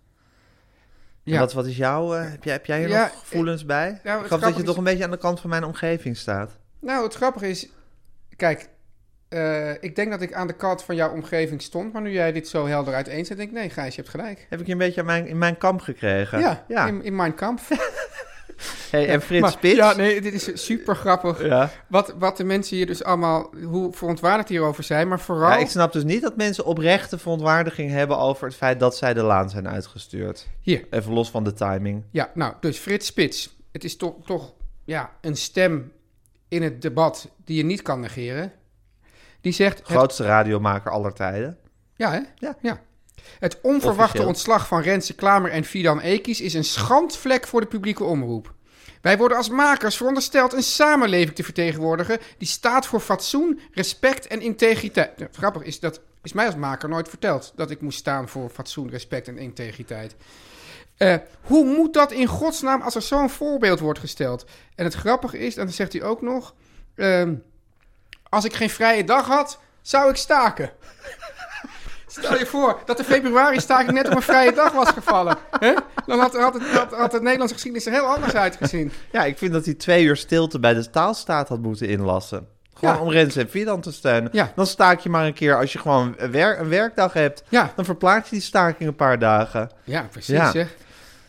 S1: En
S2: Ja.
S1: Wat, wat is jouw... eh, heb, jij, heb jij hier
S2: Ja, eh, nou,
S1: nog gevoelens bij? Ik geloof dat
S2: grappige
S1: je
S2: is-
S1: toch een beetje aan de kant van mijn omgeving staat.
S2: Nou, het grappige is... Kijk, eh, ik denk dat ik aan de kant van jouw omgeving stond... maar nu jij dit zo helder uiteenzet, denk ik... nee, Gijs, je hebt gelijk.
S1: Heb ik je een beetje aan mijn, in mijn kamp gekregen?
S2: Ja, In, in mijn kamp.
S1: Hey, [laughs] en Frits
S2: [laughs] Maar-
S1: Spits?
S2: Ja, nee, dit is super grappig.
S1: Ja.
S2: Wat, wat de mensen hier dus allemaal... hoe verontwaardigd hierover zijn, maar vooral...
S1: Ja, ik snap dus niet dat mensen oprechte verontwaardiging hebben over het feit dat zij de laan zijn uitgestuurd.
S2: Hier,
S1: Even los van de timing.
S2: ja, nou, dus Frits Spits. Het is toch, toch ja, een stem in het debat die je niet kan negeren. Die zegt... het-
S1: Grootste radiomaker aller tijden.
S2: Ja, hè?
S1: Ja.
S2: Het onverwachte
S1: Officieel.
S2: ontslag van Renze Klamer en Fidan Ekies is een schandvlek voor de publieke omroep. Wij worden als makers verondersteld een samenleving te vertegenwoordigen die staat voor fatsoen, respect en integriteit. Nou, grappig is dat is mij als maker nooit verteld dat ik moest staan voor fatsoen, respect en integriteit. Eh, hoe moet dat in godsnaam als er zo'n voorbeeld wordt gesteld? En het grappige is, en dan zegt hij ook nog: ehm, als ik geen vrije dag had, zou ik staken. Stel je voor dat de februari staking net op een vrije dag was gevallen. Hè? Dan had, had, het, had, had de Nederlandse geschiedenis er heel anders uitgezien.
S1: Ja, ik vind dat hij twee uur stilte bij de taalstaat had moeten inlassen. Gewoon
S2: Ja.
S1: om Rens en Fidan te steunen.
S2: Ja.
S1: Dan staak je maar een keer als je gewoon een, wer- een werkdag hebt.
S2: Ja.
S1: Dan verplaats je die staking een paar dagen.
S2: Ja, precies
S1: Ja.
S2: zeg.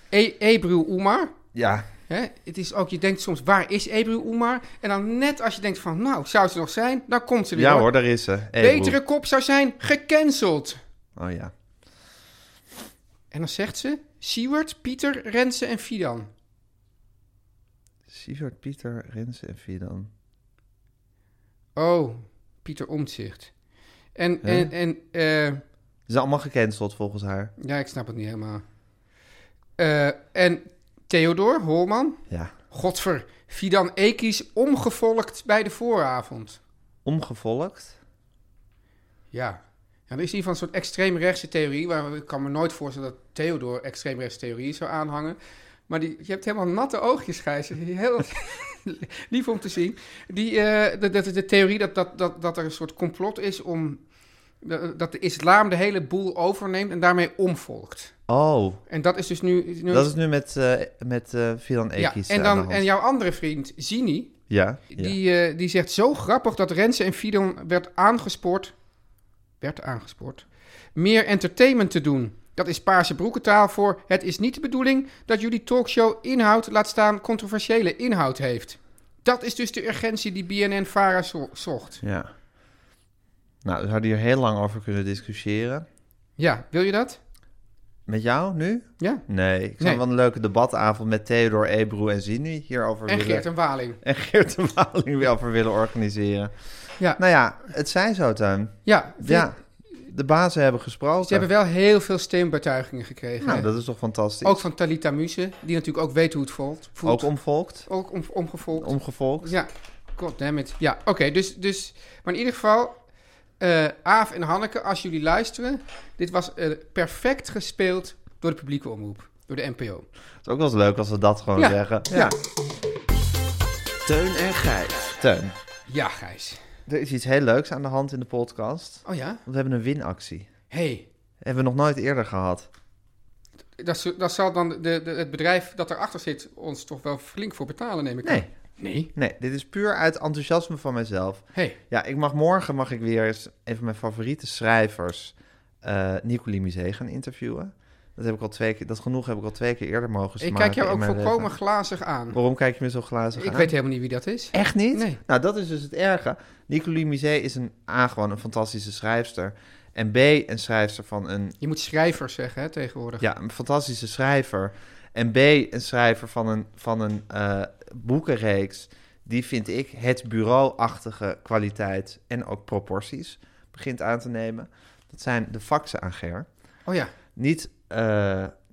S2: E Ebru Umar.
S1: Ja,
S2: Hè? Het is ook, je denkt soms, waar is Ebru Umar? En dan net als je denkt van, nou, zou ze nog zijn? Dan komt ze weer.
S1: ja hoor, daar is ze. Hey,
S2: Betere kop zou zijn, gecanceld.
S1: broer. Oh ja.
S2: En dan zegt ze, Siewert, Pieter, Rensen en Fidan.
S1: Sievert, Pieter, Rens en Fidan.
S2: Oh, Pieter Omtzigt. En, en, en eh,
S1: Ze zijn allemaal gecanceld volgens haar.
S2: ja, ik snap het niet helemaal. Eh, en Theodor Holman.
S1: Ja.
S2: Godver, Fidan Ekies omgevolkt bij de vooravond.
S1: Omgevolkt.
S2: Ja. Ja, er is in ieder geval een soort extreemrechtse theorie... waar ik kan me nooit voorstellen dat Theodor extreemrechtse theorie zou aanhangen. Maar die, je hebt helemaal natte oogjes, Gijs. Heel [laughs] lief om te zien. Die, eh, de, de, de theorie dat, dat, dat, dat er een soort complot is om... dat- dat de islam de hele boel overneemt en daarmee omvolkt.
S1: Oh,
S2: En dat is dus nu... nu
S1: dat is nu met, eh met eh, Fidan
S2: ja,
S1: Ekies
S2: en,
S1: aan de
S2: dan,
S1: hand.
S2: en jouw andere vriend, Zini...
S1: Ja, ja.
S2: Die, eh, die zegt zo grappig dat Renze en Fidon werd aangespoord. Werd aangespoord. Meer entertainment te doen. Dat is paarse broekentaal voor. Het is niet de bedoeling dat jullie talkshow inhoud, laat staan controversiële inhoud heeft. Dat is dus de urgentie die BNN Vara zo- zocht.
S1: ja. Nou, we zouden hier heel lang over kunnen discussiëren.
S2: Ja, wil je dat?
S1: Met jou nu?
S2: Ja.
S1: Nee, ik zou
S2: Nee.
S1: wel een leuke debatavond met Theodor, Ebru en Zini hierover
S2: En
S1: willen...
S2: Geert en Waling.
S1: en Geert de Waling weer over willen organiseren.
S2: Ja.
S1: Nou ja, het zijn zo, Tuin.
S2: Ja, vind-
S1: Ja, de bazen hebben gesproken.
S2: Ze hebben wel heel veel steunbetuigingen gekregen.
S1: Nou,
S2: hè?
S1: dat is toch fantastisch.
S2: Ook van Talita Muse, die natuurlijk ook weet hoe het voelt. voelt.
S1: Ook omvolkt.
S2: Ook om, omgevolgd.
S1: Omgevolkt.
S2: Ja, goddammit. Ja, oké, dus, dus... Maar in ieder geval, eh Aaf en Hanneke, als jullie luisteren... Dit was eh, perfect gespeeld door de publieke omroep. Door de NPO.
S1: Het is ook wel eens leuk als we dat gewoon
S2: Ja.
S1: zeggen.
S2: Ja.
S3: Teun en Gijs.
S1: Teun,
S2: Ja, Gijs.
S1: er is iets heel leuks aan de hand in de podcast.
S2: Oh ja?
S1: Want we hebben een winactie.
S2: Hé,
S1: Hebben we nog nooit eerder gehad.
S2: hey, dat, zo- dat zal dan de, de- het bedrijf dat erachter zit... ons toch wel flink voor betalen, neem ik
S1: Nee.
S2: aan. Nee?
S1: Nee, dit is puur uit enthousiasme van mijzelf.
S2: Hé, hey,
S1: Ja, ik mag morgen mag ik weer eens een van mijn favoriete schrijvers, eh Nicolie Misé, gaan interviewen. Dat heb ik al twee keer, dat genoeg heb ik al twee keer eerder mogen
S2: ik
S1: smaken.
S2: kijk jou
S1: in
S2: ook
S1: mijn
S2: volkomen
S1: leven.
S2: glazig aan.
S1: Waarom kijk je me zo glazig
S2: Ik
S1: aan?
S2: weet helemaal niet wie dat is.
S1: Echt niet?
S2: Nee.
S1: Nou, dat is dus het erge. Nicolie Misé is een A, gewoon een fantastische schrijfster. En B, een schrijfster van een...
S2: Je moet schrijvers zeggen, hè, tegenwoordig.
S1: Ja, een fantastische schrijver. En B, een schrijver van een, van een eh, boekenreeks. Die vind ik het bureauachtige kwaliteit en ook proporties begint aan te nemen. Dat zijn de faxen aan Ger.
S2: Oh ja.
S1: Niet, eh,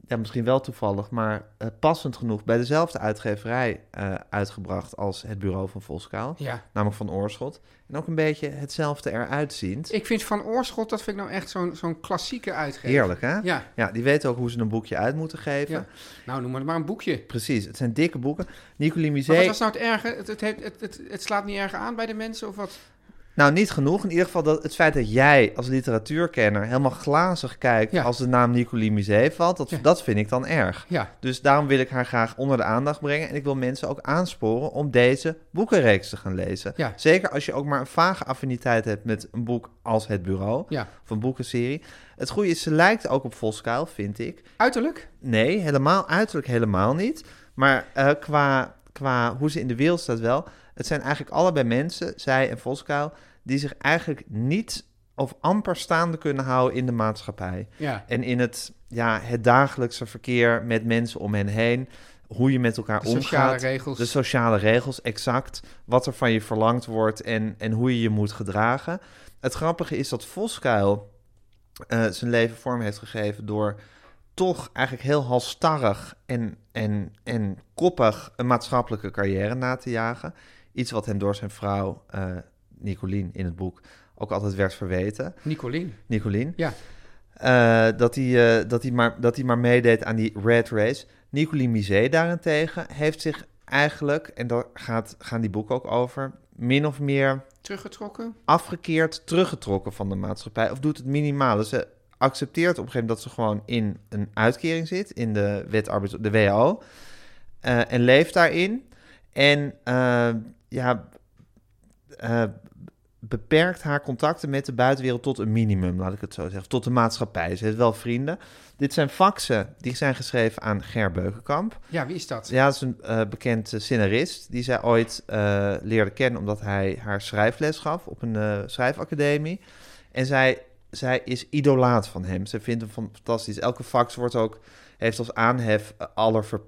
S1: ja, misschien wel toevallig, maar eh, passend genoeg... bij dezelfde uitgeverij eh, uitgebracht als het bureau van Volskaal
S2: Ja.
S1: namelijk van Oorschot. En ook een beetje hetzelfde eruit ziet.
S2: Ik vind Van Oorschot, dat vind ik nou echt zo'n zo'n klassieke uitgever.
S1: Heerlijk, hè?
S2: Ja.
S1: die weten ook hoe ze een boekje uit moeten geven.
S2: Ja. Nou, noem maar, maar een boekje.
S1: Precies, het zijn dikke boeken. Nicolie
S2: Maar wat
S1: Musée,
S2: was nou het erge? Het, het, heeft- het, het, het slaat niet erg aan bij de mensen of wat?
S1: nou niet genoeg. In ieder geval dat het feit dat jij als literatuurkenner helemaal glazig kijkt
S2: Ja.
S1: als de naam Nicolie Musée valt, dat,
S2: Ja.
S1: dat vind ik dan erg.
S2: Ja.
S1: Dus daarom wil ik haar graag onder de aandacht brengen. En ik wil mensen ook aansporen om deze boekenreeks te gaan lezen.
S2: Ja.
S1: Zeker als je ook maar een vage affiniteit hebt met een boek als Het Bureau.
S2: Ja.
S1: Of een boekenserie. Het goede is, ze lijkt ook op Voskuil, vind ik.
S2: Uiterlijk?
S1: Nee, helemaal, uiterlijk helemaal niet. Maar eh, qua, qua hoe ze in de wereld staat wel. Het zijn eigenlijk allebei mensen, zij en Voskuil, die zich eigenlijk niet of amper staande kunnen houden in de maatschappij.
S2: Ja.
S1: En in het, ja, het dagelijkse verkeer met mensen om hen heen. Hoe je met elkaar
S2: De
S1: omgaat.
S2: sociale regels.
S1: De sociale regels, exact. Wat er van je verlangd wordt en, en hoe je je moet gedragen. Het grappige is dat Voskuil eh, zijn leven vorm heeft gegeven door toch eigenlijk heel halstarrig en, en, en koppig een maatschappelijke carrière na te jagen. Iets wat hem door zijn vrouw eh Nicolien in het boek ook altijd werd verweten.
S2: Nicolien.
S1: Nicolien.
S2: Ja.
S1: Eh, dat, hij, eh, dat, hij maar, dat hij maar meedeed aan die Red Race. Nicolie Misé daarentegen heeft zich eigenlijk, en daar gaat, gaan die boeken ook over, min of meer
S2: Teruggetrokken?
S1: afgekeerd, teruggetrokken van de maatschappij. Of doet het minimale. Ze accepteert op een gegeven moment dat ze gewoon in een uitkering zit, in de wet arbeids, de WO. eh, en leeft daarin. En eh, ja, eh, beperkt haar contacten met de buitenwereld tot een minimum, laat ik het zo zeggen. Tot de maatschappij. Ze heeft wel vrienden. Dit zijn faxen die zijn geschreven aan Ger Beukenkamp.
S2: Ja, wie is dat?
S1: Ja, dat is een eh, bekend eh, scenarist die zij ooit eh, leerde kennen omdat hij haar schrijfles gaf op een eh, schrijfacademie. En zij, zij is idolaat van hem. Ze vindt hem van- fantastisch. Elke fax wordt ook, heeft als aanhef eh,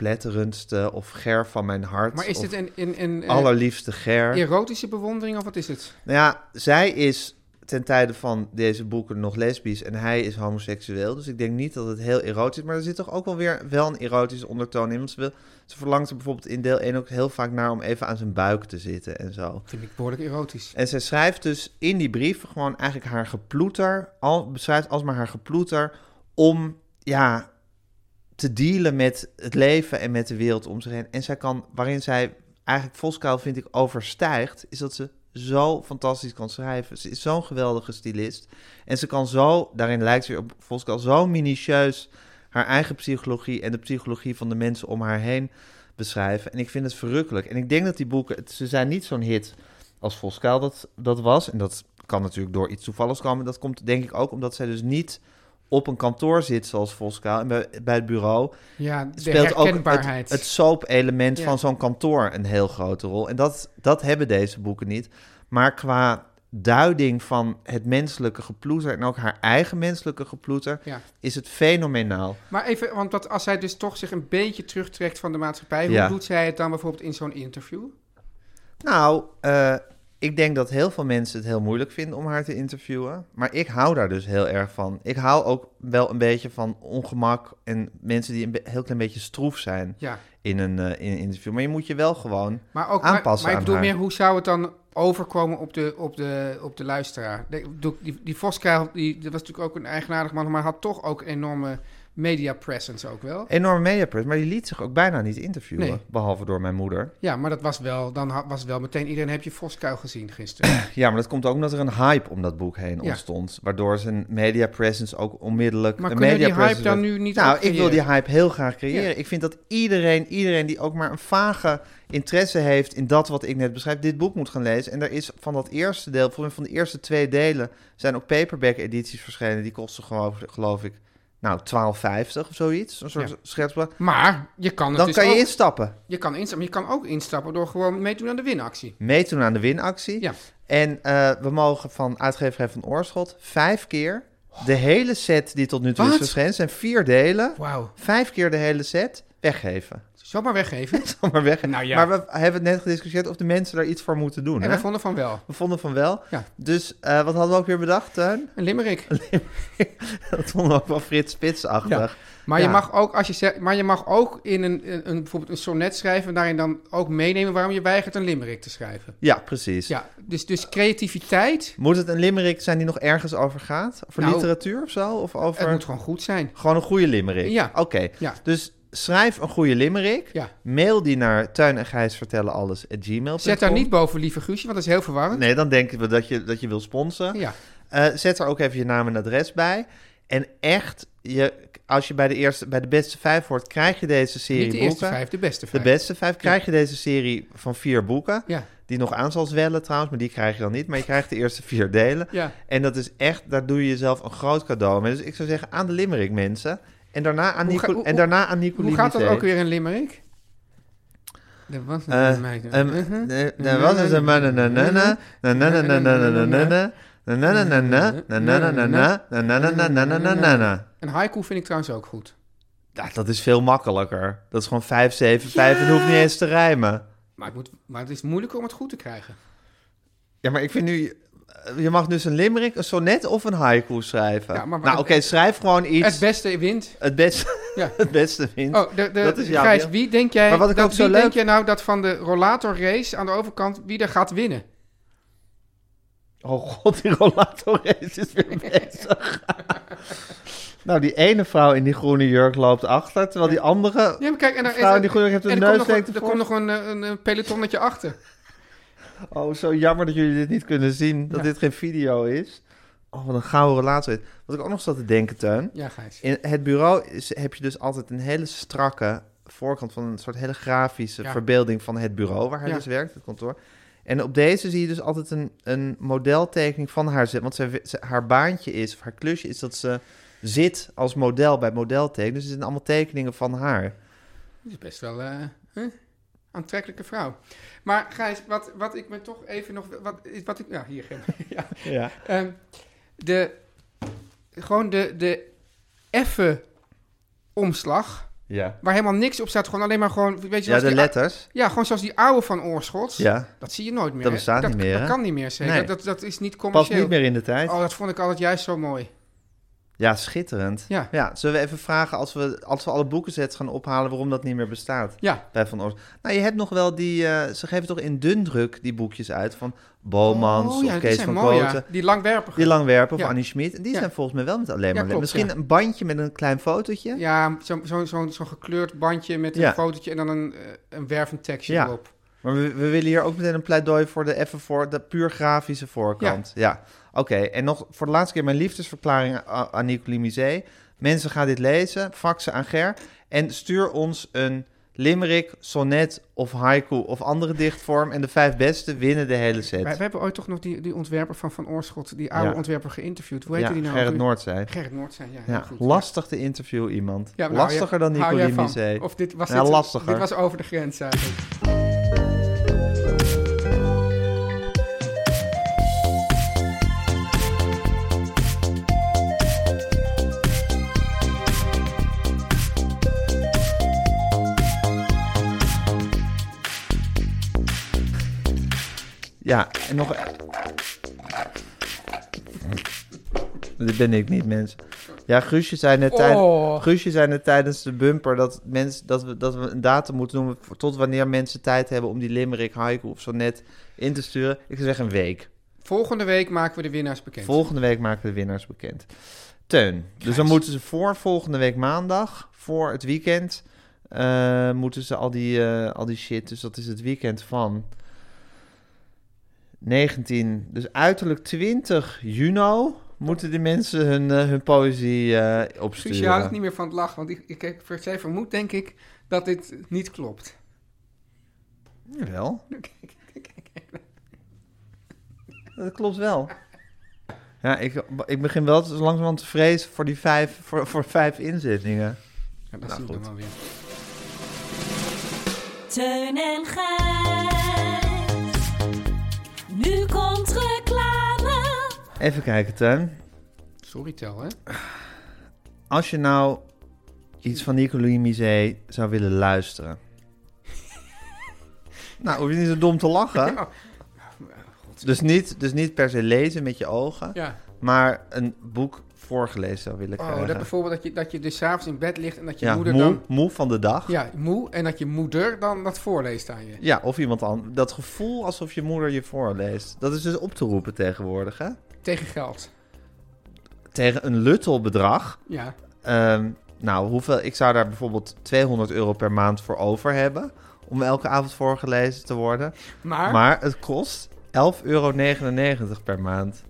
S1: allerverpletterendste of ger van mijn hart.
S2: Maar is
S1: of
S2: dit een, een, een, eh,
S1: allerliefste ger?
S2: erotische bewondering of wat is het?
S1: Nou ja, zij is ten tijde van deze boeken nog lesbisch en hij is homoseksueel. Dus ik denk niet dat het heel erotisch is. Maar er zit toch ook wel weer wel een erotische ondertoon in. Want ze, wil, ze verlangt er bijvoorbeeld in deel 1 ook heel vaak naar om even aan zijn buik te zitten en zo.
S2: Vind ik behoorlijk erotisch.
S1: En zij schrijft dus in die brief gewoon eigenlijk haar geploeter, al, beschrijft alsmaar haar geploeter om ja, te dealen met het leven en met de wereld om zich heen. En zij kan, waarin zij eigenlijk Voskuil vind ik overstijgt, is dat ze zo fantastisch kan schrijven. Ze is zo'n geweldige stylist. En ze kan zo, daarin lijkt ze weer op Voskuil, zo minutieus haar eigen psychologie en de psychologie van de mensen om haar heen beschrijven. En ik vind het verrukkelijk. En ik denk dat die boeken, het- ze zijn niet zo'n hit als Voskuil dat, dat was. En dat kan natuurlijk door iets toevalligs komen. Dat komt denk ik ook omdat zij dus niet op een kantoor zit zoals Voskuil. En bij, bij het bureau
S2: Ja, de
S1: speelt ook
S2: herkenbaarheid.
S1: het, het soap-element
S2: Ja.
S1: van zo'n kantoor een heel grote rol. En dat, dat hebben deze boeken niet. Maar qua duiding van het menselijke geploeter en ook haar eigen menselijke geploeter,
S2: Ja.
S1: is het fenomenaal.
S2: Maar even, want dat, als zij dus toch zich een beetje terugtrekt van de maatschappij, hoe
S1: Ja.
S2: doet zij het dan bijvoorbeeld in zo'n interview?
S1: Nou, eh, Ik denk dat heel veel mensen het heel moeilijk vinden om haar te interviewen. Maar ik hou daar dus heel erg van. Ik hou ook wel een beetje van ongemak en mensen die een be- heel klein beetje stroef zijn
S2: Ja,
S1: in een, eh, in een interview. Maar je moet je wel gewoon
S2: maar ook. Maar,
S1: aanpassen
S2: maar ik
S1: aan
S2: bedoel
S1: haar.
S2: meer, hoe zou het dan overkomen op de, op de, op de luisteraar? Ik bedoel, Die, die Voskuil, die, dat was natuurlijk ook een eigenaardig man, maar had toch ook een enorme media presence ook wel.
S1: Enorme mediapress, maar die liet zich ook bijna niet interviewen.
S2: Nee.
S1: Behalve door mijn moeder.
S2: Ja, maar dat was wel, dan ha- was wel meteen iedereen heb je Voskuil
S1: [clears throat]
S2: gezien gisteren.
S1: Ja, maar dat komt ook omdat er een hype om dat boek heen
S2: Ja.
S1: ontstond. Waardoor zijn media presence ook onmiddellijk...
S2: Maar
S1: een
S2: kunnen we die
S1: media
S2: hype
S1: presence
S2: dan
S1: werd-
S2: nu niet
S1: Nou,
S2: ook
S1: ik wil die
S2: creëren?
S1: hype heel graag creëren.
S2: Ja.
S1: Ik vind dat iedereen, iedereen die ook maar een vage interesse heeft in dat wat ik net beschrijf, dit boek moet gaan lezen. En er is van dat eerste deel, volgens mij van de eerste twee delen, zijn ook paperback edities verschenen. Die kosten gewoon, geloof ik, nou, 12,50 of zoiets. Een soort
S2: Ja.
S1: schetsblad.
S2: Maar je kan het
S1: Dan
S2: dus
S1: kan je
S2: ook-
S1: instappen.
S2: je kan instappen. Je kan ook instappen door gewoon mee te doen aan de winactie.
S1: meedoen aan de winactie.
S2: Ja.
S1: En eh, we mogen van uitgeverij van Oorschot vijf keer de hele set die tot nu toe is
S2: Wat?
S1: verschenen, zijn vier delen,
S2: Wauw.
S1: vijf keer de hele set weggeven. [laughs]
S2: Zomaar weggeven.
S1: Zal maar weg.
S2: Nou ja.
S1: Maar we hebben net gediscussieerd of de mensen daar iets voor moeten doen.
S2: en
S1: hè?
S2: wij vonden van wel.
S1: We vonden van wel.
S2: Ja.
S1: Dus eh, wat hadden we ook weer bedacht,
S2: [laughs]
S1: Tuin?
S2: Een limerick.
S1: Dat vonden we ook wel Frits Spitsachtig.
S2: Maar,
S1: Ja.
S2: je mag ook, als je zegt, maar je mag ook in een, een, een- bijvoorbeeld een sonnet schrijven... en daarin dan ook meenemen waarom je weigert een limerick te schrijven.
S1: Ja, precies.
S2: Ja, dus, dus creativiteit,
S1: Moet het een limerick zijn die nog ergens over gaat? Over
S2: Nou,
S1: literatuur of zo? Of over...
S2: het moet gewoon goed zijn.
S1: Gewoon een goede limerick.
S2: Ja.
S1: Oké.
S2: Ja.
S1: Dus schrijf een goede limerick.
S2: Ja.
S1: Mail die naar tuin en gijs vertellen alles gmail.com.
S2: Zet daar niet boven lieve Guusje, want dat is heel verwarrend.
S1: Nee, dan denken we dat je, dat je wil sponsoren.
S2: Ja,
S1: Eh, zet er ook even je naam en adres bij. En echt, je, als je bij de, eerste, bij de beste vijf hoort, krijg je deze serie
S2: niet de
S1: boeken.
S2: eerste vijf, de beste
S1: De
S2: vijf.
S1: beste vijf krijg je deze serie van vier boeken.
S2: Ja.
S1: Die nog aan zal zwellen trouwens, maar die krijg je dan niet. Maar je krijgt de eerste vier delen.
S2: Ja.
S1: En dat is echt, daar doe je jezelf een groot cadeau mee. Dus ik zou zeggen, aan de Limerick mensen. En daarna aan,
S2: Hoe
S1: Nico,
S2: ga- hoe-
S1: en daarna aan Nicoline
S2: Hoe gaat dat
S1: Mité.
S2: ook weer een limerick? Dat was
S1: Eh,
S2: een meid. Mhm.
S1: ehm,
S2: Uh-huh.
S1: eh, daar was het een manananana, nananananananana, nanananana, nanananana, nananananananana.
S2: Een haiku vind ik trouwens ook goed.
S1: Ja, Dat is veel makkelijker. Dat is gewoon 5, 7, 5. Het hoeft niet eens te rijmen.
S2: Maar het, moet, maar het is moeilijker om het goed te krijgen.
S1: Ja, maar ik vind nu... Je mag dus een limerick, een sonnet of een haiku schrijven.
S2: Ja, maar-
S1: nou, oké, schrijf gewoon iets.
S2: Het beste wint.
S1: Het beste,
S2: Ja.
S1: [laughs] het beste vindt.
S2: Oh, de, de,
S1: Dat is jouw
S2: Gijs,
S1: deel.
S2: wie denk jij,
S1: Maar wat ik
S2: dat,
S1: ook zo
S2: wie
S1: leuk-
S2: denk jij nou dat van de rollatorrace aan de overkant, wie er gaat winnen?
S1: Oh god, die rollator race is weer bezig.
S2: [laughs]
S1: nou, die ene vrouw in die groene jurk loopt achter, terwijl die andere...
S2: Ja, maar kijk, en, daar-
S1: Vrouw in die groene heeft een
S2: en er komt
S1: neus
S2: nog
S1: tegen
S2: een- Er komt nog een, eh, een, een pelotonnetje achter.
S1: Oh, zo jammer dat jullie dit niet kunnen zien, dat
S2: Ja.
S1: dit geen video is. Oh, wat een gouden relatie. Wat ik ook nog zat te denken, Teun.
S2: Ja, Gijs.
S1: In het bureau is, heb je dus altijd een hele strakke voorkant van een soort hele grafische
S2: Ja.
S1: verbeelding van het bureau waar hij
S2: Ja.
S1: dus werkt, het kantoor. En op deze zie je dus altijd een, een modeltekening van haar zit. Want zij, ze- haar baantje is, of haar klusje is dat ze zit als model bij modeltekening. Dus het zijn allemaal tekeningen van haar.
S2: Dat is best wel eh, hè? aantrekkelijke vrouw. Maar Gijs, wat, wat ik me toch even nog... Wat, wat ik, ja, hier.
S1: [laughs]
S2: ja.
S1: Ja.
S2: Ehm, de, gewoon de, de effe omslag,
S1: Ja,
S2: waar helemaal niks op staat. Gewoon alleen maar gewoon... Weet je,
S1: ja
S2: zoals
S1: de
S2: die-
S1: letters.
S2: Ja, gewoon zoals die oude van Oorschot.
S1: Ja.
S2: Dat zie je nooit meer.
S1: Dat
S2: hè?
S1: bestaat niet meer, hè?
S2: Dat kan niet meer, zeker.
S1: Nee.
S2: Dat, dat is niet
S1: Past
S2: commercieel.
S1: niet meer in de tijd.
S2: Oh, dat vond ik altijd juist zo mooi.
S1: Ja, schitterend.
S2: Ja.
S1: zullen we even vragen als we, als we alle boekensets gaan ophalen waarom dat niet meer bestaat?
S2: Ja,
S1: Bij Van Oors. Nou, je hebt nog wel die. eh, ze geven toch in dundruk die boekjes uit van Bomans
S2: oh, ja,
S1: of
S2: die
S1: Kees
S2: zijn
S1: van
S2: mooi, ja.
S1: Kooten.
S2: Die langwerpige.
S1: Die Langwerpen of
S2: Ja.
S1: Annie Schmid. En die
S2: Ja.
S1: zijn volgens mij wel met alleen maar.
S2: klopt,
S1: Misschien
S2: ja.
S1: een bandje met een klein fotootje.
S2: Ja, zo'n zo, zo, zo'n gekleurd bandje met een
S1: Ja.
S2: fotootje en dan een, eh, een wervend tekstje
S1: Ja.
S2: erop.
S1: Maar we, we willen hier ook meteen een pleidooi voor de even voor de puur grafische voorkant. Ja. Oké, en nog voor de laatste keer mijn liefdesverklaring a- aan Nicolie Misé. Mensen gaan dit lezen, faxen aan Ger en stuur ons een limerick, sonnet of haiku of andere dichtvorm. En de vijf beste winnen de hele set.
S2: Wij, wij hebben ooit toch nog die, die ontwerper van Van Oorschot, die oude
S1: Ja.
S2: ontwerper geïnterviewd. Hoe heette
S1: ja,
S2: die nou?
S1: Gerrit
S2: ook weer?
S1: Noord zei.
S2: Gerrit Noord zijn, ja. heel
S1: Ja,
S2: goed.
S1: lastig te interviewen iemand.
S2: Ja, maar nou,
S1: Lastiger
S2: ja,
S1: dan
S2: hou jij
S1: Nicolie
S2: van?
S1: Misé.
S2: Of dit was,
S1: Ja,
S2: dit,
S1: lastiger.
S2: dit was over de grens eigenlijk.
S1: Ja, en nog... Dit ben ik niet, mensen. Ja, Guusje zei net, tijd-
S6: Oh.
S1: Guusje zei net tijdens de bumper dat, mensen dat, we, dat we een datum moeten noemen... voor- tot wanneer mensen tijd hebben om die limerick, haiku of zo net in te sturen. Ik zou zeggen een week.
S2: Volgende week maken we de winnaars bekend.
S1: Volgende week maken we de winnaars bekend. Teun, dus dan moeten ze voor volgende week maandag, voor het weekend... eh, moeten ze al die, eh, al die shit, dus dat is het weekend van... 19, dus uiterlijk 20 juni moeten de mensen hun, eh, hun poëzie eh, opsturen.
S2: Guus, je houdt niet meer van het lachen, want ik, ik, ik, zij vermoed, denk ik, dat dit niet klopt.
S1: Jawel. Dat klopt wel. Ja, ik, ik begin wel te- langzamerhand te vrezen voor die vijf, voor, voor vijf inzittingen.
S2: Ja,
S1: Nou,
S2: dat zie ik dan wel weer.
S5: Teun en Gijs. Nu komt reclame.
S1: Even kijken, Teun.
S2: Sorry, Tel, hè?
S1: Als je nou iets van Nicolie Misé zou willen luisteren.
S2: [laughs]
S1: nou, hoef je niet zo dom te lachen.
S2: Oh,
S1: Dus niet, dus niet per se lezen met je ogen,
S2: Ja.
S1: maar een boek voorgelezen zou willen krijgen.
S2: Oh, dat bijvoorbeeld dat je, dat je dus s'avonds in bed ligt en dat je
S1: Eh. ja,
S2: moeder
S1: moe,
S2: dan...
S1: moe van de dag.
S2: Ja, moe. En dat je moeder dan dat voorleest aan je.
S1: Ja, of iemand anders. Dat gevoel alsof je moeder je voorleest. Dat is dus op te roepen tegenwoordig, hè?
S2: Tegen geld.
S1: Tegen een luttel bedrag.
S2: Ja.
S1: Ehm, nou, hoeveel, ik zou daar bijvoorbeeld 200 euro per maand voor over hebben. Om elke avond voorgelezen te worden.
S2: Maar,
S1: Maar het kost 11,99 euro per maand.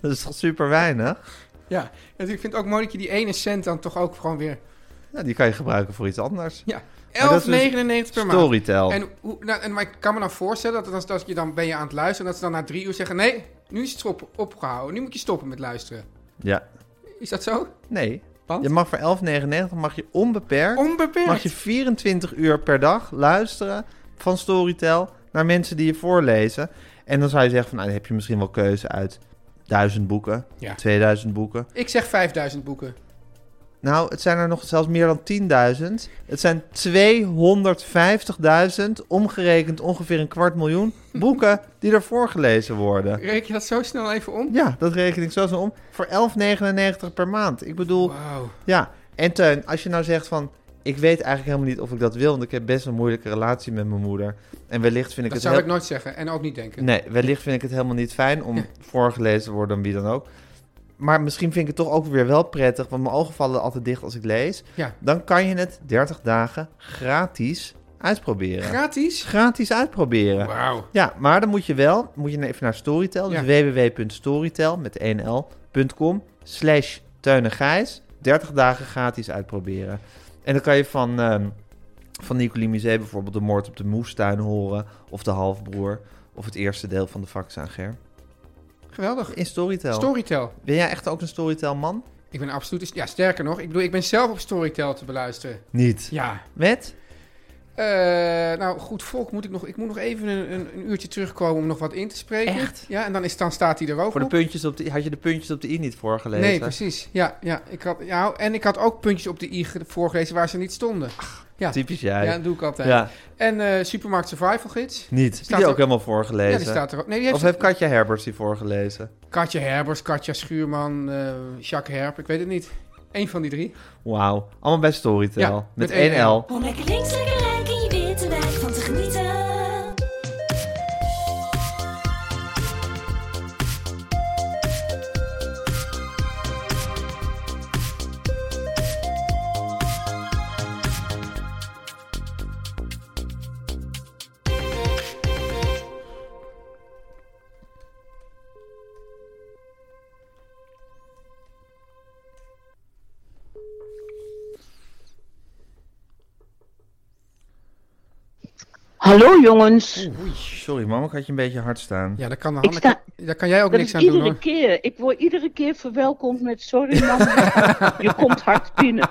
S1: Dat is toch super weinig?
S2: ja. En ik vind het ook mooi dat je die ene cent dan toch ook gewoon weer...
S1: Ja, die kan je gebruiken voor iets anders.
S2: Ja, 11,99
S1: Maar dat is dus
S2: per maand.
S1: Storytel.
S2: En, hoe, nou, en, maar ik kan me dan voorstellen dat, als, dat je dan ben je aan het luisteren... en dat ze dan na drie uur zeggen... nee, nu is het op, opgehouden. Nu moet je stoppen met luisteren.
S1: Ja.
S2: Is dat zo?
S1: Nee.
S2: Want?
S1: Je mag voor 11,99 mag je onbeperkt...
S2: Onbeperkt.
S1: mag je 24 uur per dag luisteren van Storytel naar mensen die je voorlezen. En dan zou je zeggen van, nou, dan heb je misschien wel keuze uit 1000 boeken,
S2: Ja.
S1: 2000 boeken.
S2: Ik zeg 5000 boeken.
S1: Nou, het zijn er nog zelfs meer dan 10.000. Het zijn 250.000, omgerekend ongeveer een kwart miljoen boeken die er voorgelezen worden.
S2: Reken je dat zo snel even om?
S1: Ja, dat reken ik zo snel om. Voor 11,99 per maand. Ik bedoel,
S2: Wauw.
S1: ja, en Teun, als je nou zegt van... Ik weet eigenlijk helemaal niet of ik dat wil, want ik heb best een moeilijke relatie met mijn moeder. En wellicht vind ik
S2: Dat
S1: het
S2: zou ik
S1: heel...
S2: nooit zeggen en ook niet denken.
S1: Nee, wellicht vind ik het helemaal niet fijn om voorgelezen te worden door wie dan ook. Maar misschien vind ik het toch ook weer wel prettig, want mijn ogen vallen altijd dicht als ik lees.
S2: Ja.
S1: Dan kan je het 30 dagen gratis uitproberen.
S2: Gratis?
S1: gratis uitproberen.
S2: Wauw.
S1: Ja, maar dan moet je wel, moet je even naar Storytel. Dus www.storytel, met 1l.com, slash Teun en Gijs. 30 dagen gratis uitproberen. En dan kan je van, ehm van Nicolie Musee bijvoorbeeld de moord op de moestuin horen. Of de halfbroer. Of het eerste deel van de fax aan Ger.
S2: Geweldig.
S1: In Storytel.
S2: Storytel.
S1: ben jij echt ook een Storytel man?
S2: Ik ben absoluut... Ja, sterker nog. Ik bedoel, ik ben zelf op Storytel te beluisteren.
S1: Niet.
S2: Ja.
S1: Met?
S2: nou, goed volk moet ik nog... Ik moet nog even een, een, een uurtje terugkomen om nog wat in te spreken.
S1: Echt?
S2: Ja, en dan, is, dan staat hij er ook
S1: Voor de
S2: op.
S1: puntjes op de, had je de puntjes op de i niet voorgelezen?
S2: Nee, precies. Ja, ja, ik had, ja, en ik had ook puntjes op de i ge- voorgelezen waar ze niet stonden. ja.
S1: Typisch
S2: Ja,
S1: jij.
S2: dat doe ik altijd.
S1: Ja,
S2: En eh, Supermarkt Survival Gids.
S1: niet. Heb je die
S2: er-
S1: ook helemaal
S2: Ja,
S1: voorgelezen?
S2: die staat er ook. Nee, die heeft
S1: Of heeft Katja Herbers die voorgelezen?
S2: Katja Herbers, Katja Schuurman, eh Jacques Herp, ik weet het niet. Eén van die drie.
S1: Wauw. Allemaal bij Storytel.
S2: Ja,
S1: met
S2: met
S1: 1L.
S5: Om lekker links, lekker rijk in je witte wijk van te genieten.
S7: Hallo jongens,
S1: Sorry, mama, ik had je een beetje hard staan.
S2: Ja, daar kan,
S7: Ik
S2: Hanne,
S7: sta-
S2: daar kan jij ook
S7: dat
S2: niks
S7: is
S2: aan doen
S7: iedere
S2: hoor.
S7: keer. Ik word iedere keer verwelkomd met sorry
S2: [laughs]
S7: mama, je komt hard binnen.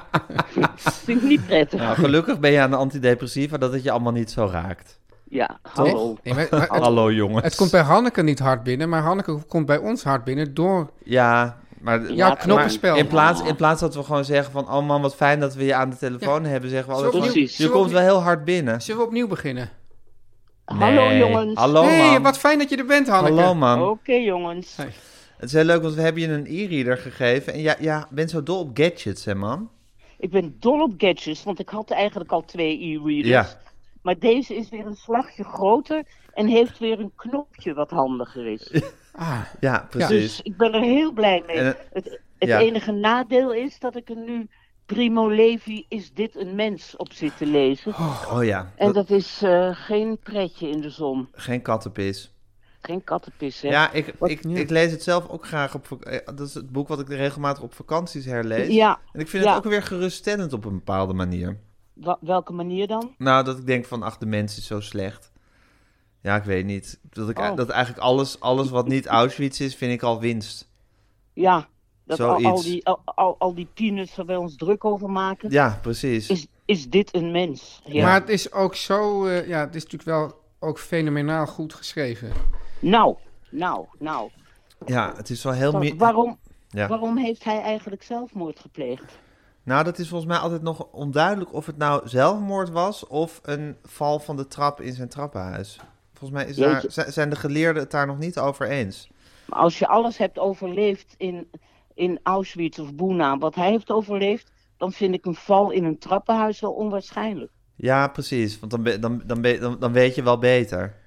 S7: Vind ik niet prettig.
S1: Nou, gelukkig ben je aan de antidepressiva dat het je allemaal niet zo raakt.
S7: Ja, hallo.
S2: Nee, maar- maar het,
S1: Hallo jongens.
S2: het komt bij Hanneke niet hard binnen, maar Hanneke komt bij ons hard binnen door
S1: Ja, maar...
S7: Ja,
S2: jouw
S7: maar-
S2: knoppenspel.
S1: In plaats, in plaats dat we gewoon zeggen van... Oh man, wat fijn dat we je aan de telefoon hebben. Zeggen we altijd
S2: Zullen
S7: we
S1: van,
S7: opnieuw-
S1: Je
S2: zullen we
S1: komt wel
S2: opnieuw-
S1: heel hard binnen.
S2: Zullen we opnieuw beginnen?
S7: Hallo
S1: Nee.
S7: jongens.
S1: Hallo
S2: hey,
S1: man.
S2: wat fijn dat je er bent, Hanneke.
S1: Hallo man.
S7: Oké jongens.
S2: Hey.
S1: Het is heel leuk, want we hebben je een e-reader gegeven. En ja, ja, bent zo dol op gadgets, hè man?
S7: Ik ben dol op gadgets, want ik had eigenlijk al twee e-readers.
S1: Ja.
S7: Maar deze is weer een slagje groter en heeft weer een knopje wat handiger is.
S2: Ah,
S1: Ja, precies.
S7: Dus ik ben er heel blij mee.
S1: En, eh,
S7: het het
S1: ja.
S7: enige nadeel is dat ik er nu Primo Levi is dit een mens op zit te lezen.
S1: Oh ja,
S7: en
S1: dat-
S7: dat is eh, geen pretje in de zon.
S1: geen kattenpis.
S7: Geen kattenpis, hè?
S1: Ja, ik,
S7: Wat-
S1: ik, ik lees het zelf ook graag op... vak- eh, Dat is het boek wat ik regelmatig op vakanties herlees.
S7: Ja,
S1: En ik vind
S7: Ja.
S1: het ook weer geruststellend op een bepaalde manier.
S7: wa- welke manier dan?
S1: Nou, dat ik denk van, ach, de mens is zo slecht. Ja, ik weet niet. Dat, ik,
S7: Oh.
S1: dat eigenlijk alles, alles wat niet Auschwitz is, vind ik al winst.
S7: Ja, dat al, al
S1: Zoiets.
S7: die, al, al, al die tieners waar wij ons druk over maken.
S1: Ja, precies.
S7: Is, is dit een mens? Ja.
S2: Maar het is ook zo, eh, ja, het is natuurlijk wel ook fenomenaal goed geschreven.
S7: Nou, nou, nou.
S1: Ja, het is wel heel...
S7: Wa-
S1: mi-
S7: waarom,
S1: Ja.
S7: waarom heeft hij eigenlijk zelfmoord gepleegd?
S1: Nou, dat is volgens mij altijd nog onduidelijk of het nou zelfmoord was of een val van de trap in zijn trappenhuis. Volgens mij is daar,
S7: Jeetje.
S1: zi- zijn de geleerden het daar nog niet over eens.
S7: Maar Als je alles hebt overleefd in, in Auschwitz of Buna, wat hij heeft overleefd, dan vind ik een val in een trappenhuis wel onwaarschijnlijk.
S1: Ja, precies. Want dan, be- dan, dan, be- dan, dan weet je wel beter.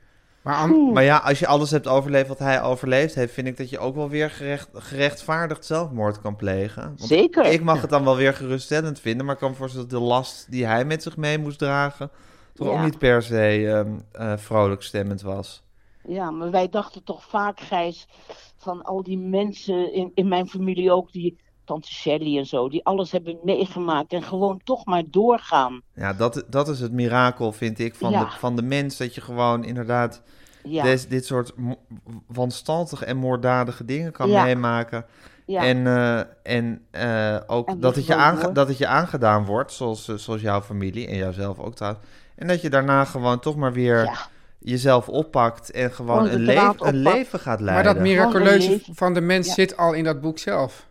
S2: Maar aan-
S1: Maar ja, als je alles hebt overleefd wat hij overleefd heeft, vind ik dat je ook wel weer gerecht, gerechtvaardigd zelfmoord kan plegen. Want
S7: Zeker.
S1: Ik mag het dan wel weer geruststellend vinden, maar ik kan me voorstellen dat de last die hij met zich mee moest dragen, toch ook
S7: Ja.
S1: niet per se ehm eh, vrolijk stemmend was.
S7: Ja, maar wij dachten toch vaak, Gijs, van al die mensen in, in mijn familie ook, die tante Shelley en zo, die alles hebben meegemaakt en gewoon toch maar doorgaan.
S1: Ja, dat, dat is het mirakel, vind ik, van,
S7: Ja.
S1: de, van de mens. Dat je gewoon inderdaad
S7: Ja,
S1: des- dit soort mo- wanstaltige en moorddadige dingen kan
S7: Ja.
S1: meemaken.
S7: ja.
S1: En, eh, en eh, ook
S7: En
S1: dat,
S7: die
S1: het je
S7: gewoon
S1: aange-
S7: door.
S1: dat het je aangedaan wordt, zoals, eh, zoals jouw familie en jouzelf ook trouwens. En dat je daarna gewoon toch maar weer
S7: Ja.
S1: jezelf oppakt en gewoon
S7: Gewoon
S1: een,
S7: de
S1: leef-
S7: draad
S1: een
S7: oppakt.
S1: leven gaat
S2: maar
S1: leiden.
S2: dat miraculeuze
S7: Gewoon
S2: van de mens
S7: Ja.
S2: zit al in dat boek zelf.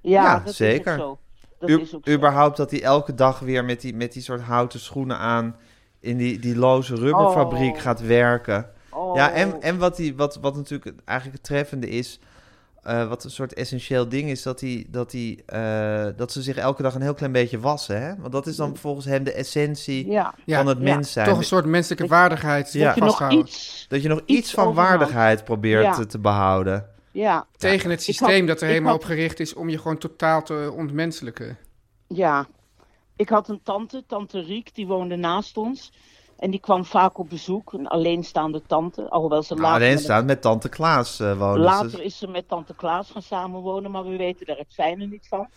S7: ja,
S1: ja,
S7: dat
S1: zeker.
S7: is ook zo. Dat
S1: U-
S7: is ook zo.
S1: überhaupt dat hij elke dag weer met die, met die soort houten schoenen aan in die, die loze rubberfabriek
S7: Oh.
S1: gaat werken.
S7: Oh.
S1: Ja, en, en wat, die, wat, wat natuurlijk het- eigenlijk het treffende is, eh, wat een soort essentieel ding is, dat, die, dat, die, eh, dat ze zich elke dag een heel klein beetje wassen. Hè? Want dat is dan volgens hem de essentie
S7: Ja.
S2: Ja,
S1: van het
S7: ja.
S1: mens zijn.
S2: Toch een soort menselijke waardigheid
S1: Ja.
S7: Dat je nog
S2: vasthouden.
S7: iets
S1: Dat je nog iets,
S7: iets
S1: van
S7: overhoudt.
S1: waardigheid probeert
S7: Ja.
S1: te, te behouden.
S7: Ja,
S2: Tegen het
S7: Ik
S2: systeem
S7: had-
S2: dat er
S7: ik
S2: helemaal
S7: had-
S2: op gericht is om je gewoon totaal te ontmenselijken.
S7: ja. Ik had een tante, tante Riek, die woonde naast ons. En die kwam vaak op bezoek, een alleenstaande tante. Alhoewel ze
S1: Nou,
S7: later,
S1: alleen
S7: met-
S1: staan met tante Klaas eh wonen. Dus
S7: later
S1: dat-
S7: is ze met tante Klaas gaan samenwonen, maar we weten daar het fijne niet van.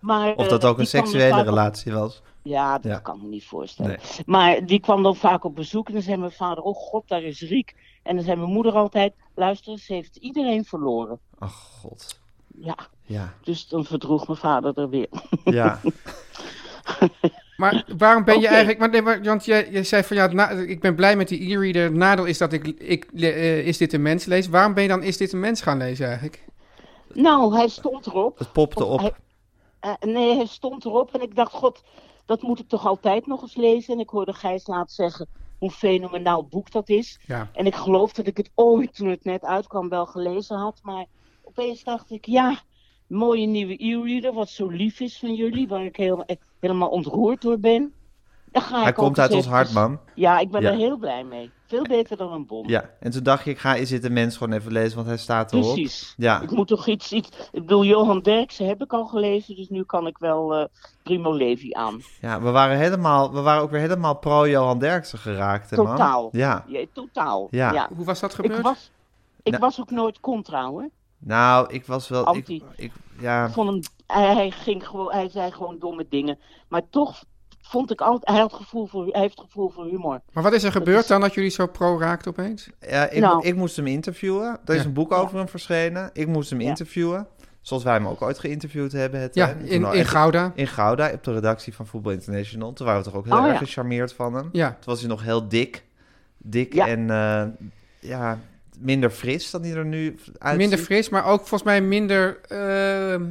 S7: Maar,
S1: of
S7: eh,
S1: dat ook een
S7: die kwam er
S1: seksuele
S7: vaak op-
S1: relatie was.
S7: Ja, dat
S1: Ja.
S7: kan ik me niet voorstellen. Maar die kwam dan vaak op bezoek en dan zei mijn vader, oh god, daar is Riek. En dan zei mijn moeder altijd, luister, ze heeft iedereen verloren.
S1: Ach, god.
S7: Ja,
S1: Ja.
S7: dus dan verdroeg mijn vader er weer. [laughs]
S1: ja.
S2: Maar waarom ben je
S7: Oké.
S2: eigenlijk... Maar nee, maar, want jij, jij zei van ja, het na- ik ben blij met die e-reader. Het nadeel is dat ik, ik le- eh, Is dit een mens lees. Waarom ben je dan Is dit een mens gaan lezen eigenlijk?
S7: Nou, hij stond erop.
S1: Het popte
S7: Want
S1: op.
S7: hij- eh, nee, hij stond erop en ik dacht, god, dat moet ik toch altijd nog eens lezen. En ik hoorde Gijs laat zeggen hoe fenomenaal boek dat is.
S2: Ja.
S7: En ik geloof dat ik het ooit, toen het net uitkwam, wel gelezen had. Maar opeens dacht ik, ja, mooie nieuwe e-reader, wat zo lief is van jullie, waar ik heel, eh, helemaal ontroerd door ben. Dan ga
S1: Hij
S7: ik ook
S1: komt
S7: eens
S1: uit ons
S7: even-
S1: hart, man.
S7: Ja, ik ben
S1: Ja.
S7: er heel blij mee. Veel beter dan een bom.
S1: Ja. En toen dacht je, ik ga Is dit een mens gewoon even lezen, want hij staat erop.
S7: Precies.
S1: Ja.
S7: Ik moet toch iets, iets. Ik bedoel, Johan Derksen heb ik al gelezen, dus nu kan ik wel eh, Primo Levi aan.
S1: Ja, we waren, helemaal, we waren ook weer helemaal pro-Johan Derksen geraakt, hè, man?
S7: Totaal.
S1: Ja.
S7: Ja, totaal.
S1: Ja.
S2: Hoe was dat
S7: Ik,
S2: gebeurd?
S7: was, ik
S1: Nou.
S7: was ook nooit contra hoor.
S1: Nou, ik was wel... Ik,
S7: Anti.
S1: ik, ja,
S7: Ik vond hem, hij, hij ging gewoon, hij zei gewoon domme dingen. Maar toch vond ik altijd, hij, had gevoel voor, hij heeft gevoel voor humor.
S2: Maar wat is er gebeurd dan dat jullie zo pro raakten opeens?
S1: ja, ik,
S7: Nou.
S1: ik moest hem interviewen. Er is
S2: Ja.
S1: een boek over hem verschenen. Ik moest hem
S7: Ja.
S1: interviewen. Zoals wij hem ook ooit geïnterviewd hebben. Het,
S2: Ja, nou,
S1: hè. Toen
S2: in,
S1: al-
S2: in Gouda.
S1: in Gouda, op de redactie van Voetbal International. Toen waren we toch ook heel
S7: Oh,
S1: erg
S7: ja.
S1: gecharmeerd van hem.
S2: Ja.
S1: Toen was hij nog heel dik. Dik
S7: Ja.
S1: en eh, ja, minder fris dan hij er nu uitziet.
S2: Minder fris, maar ook volgens mij minder ehm,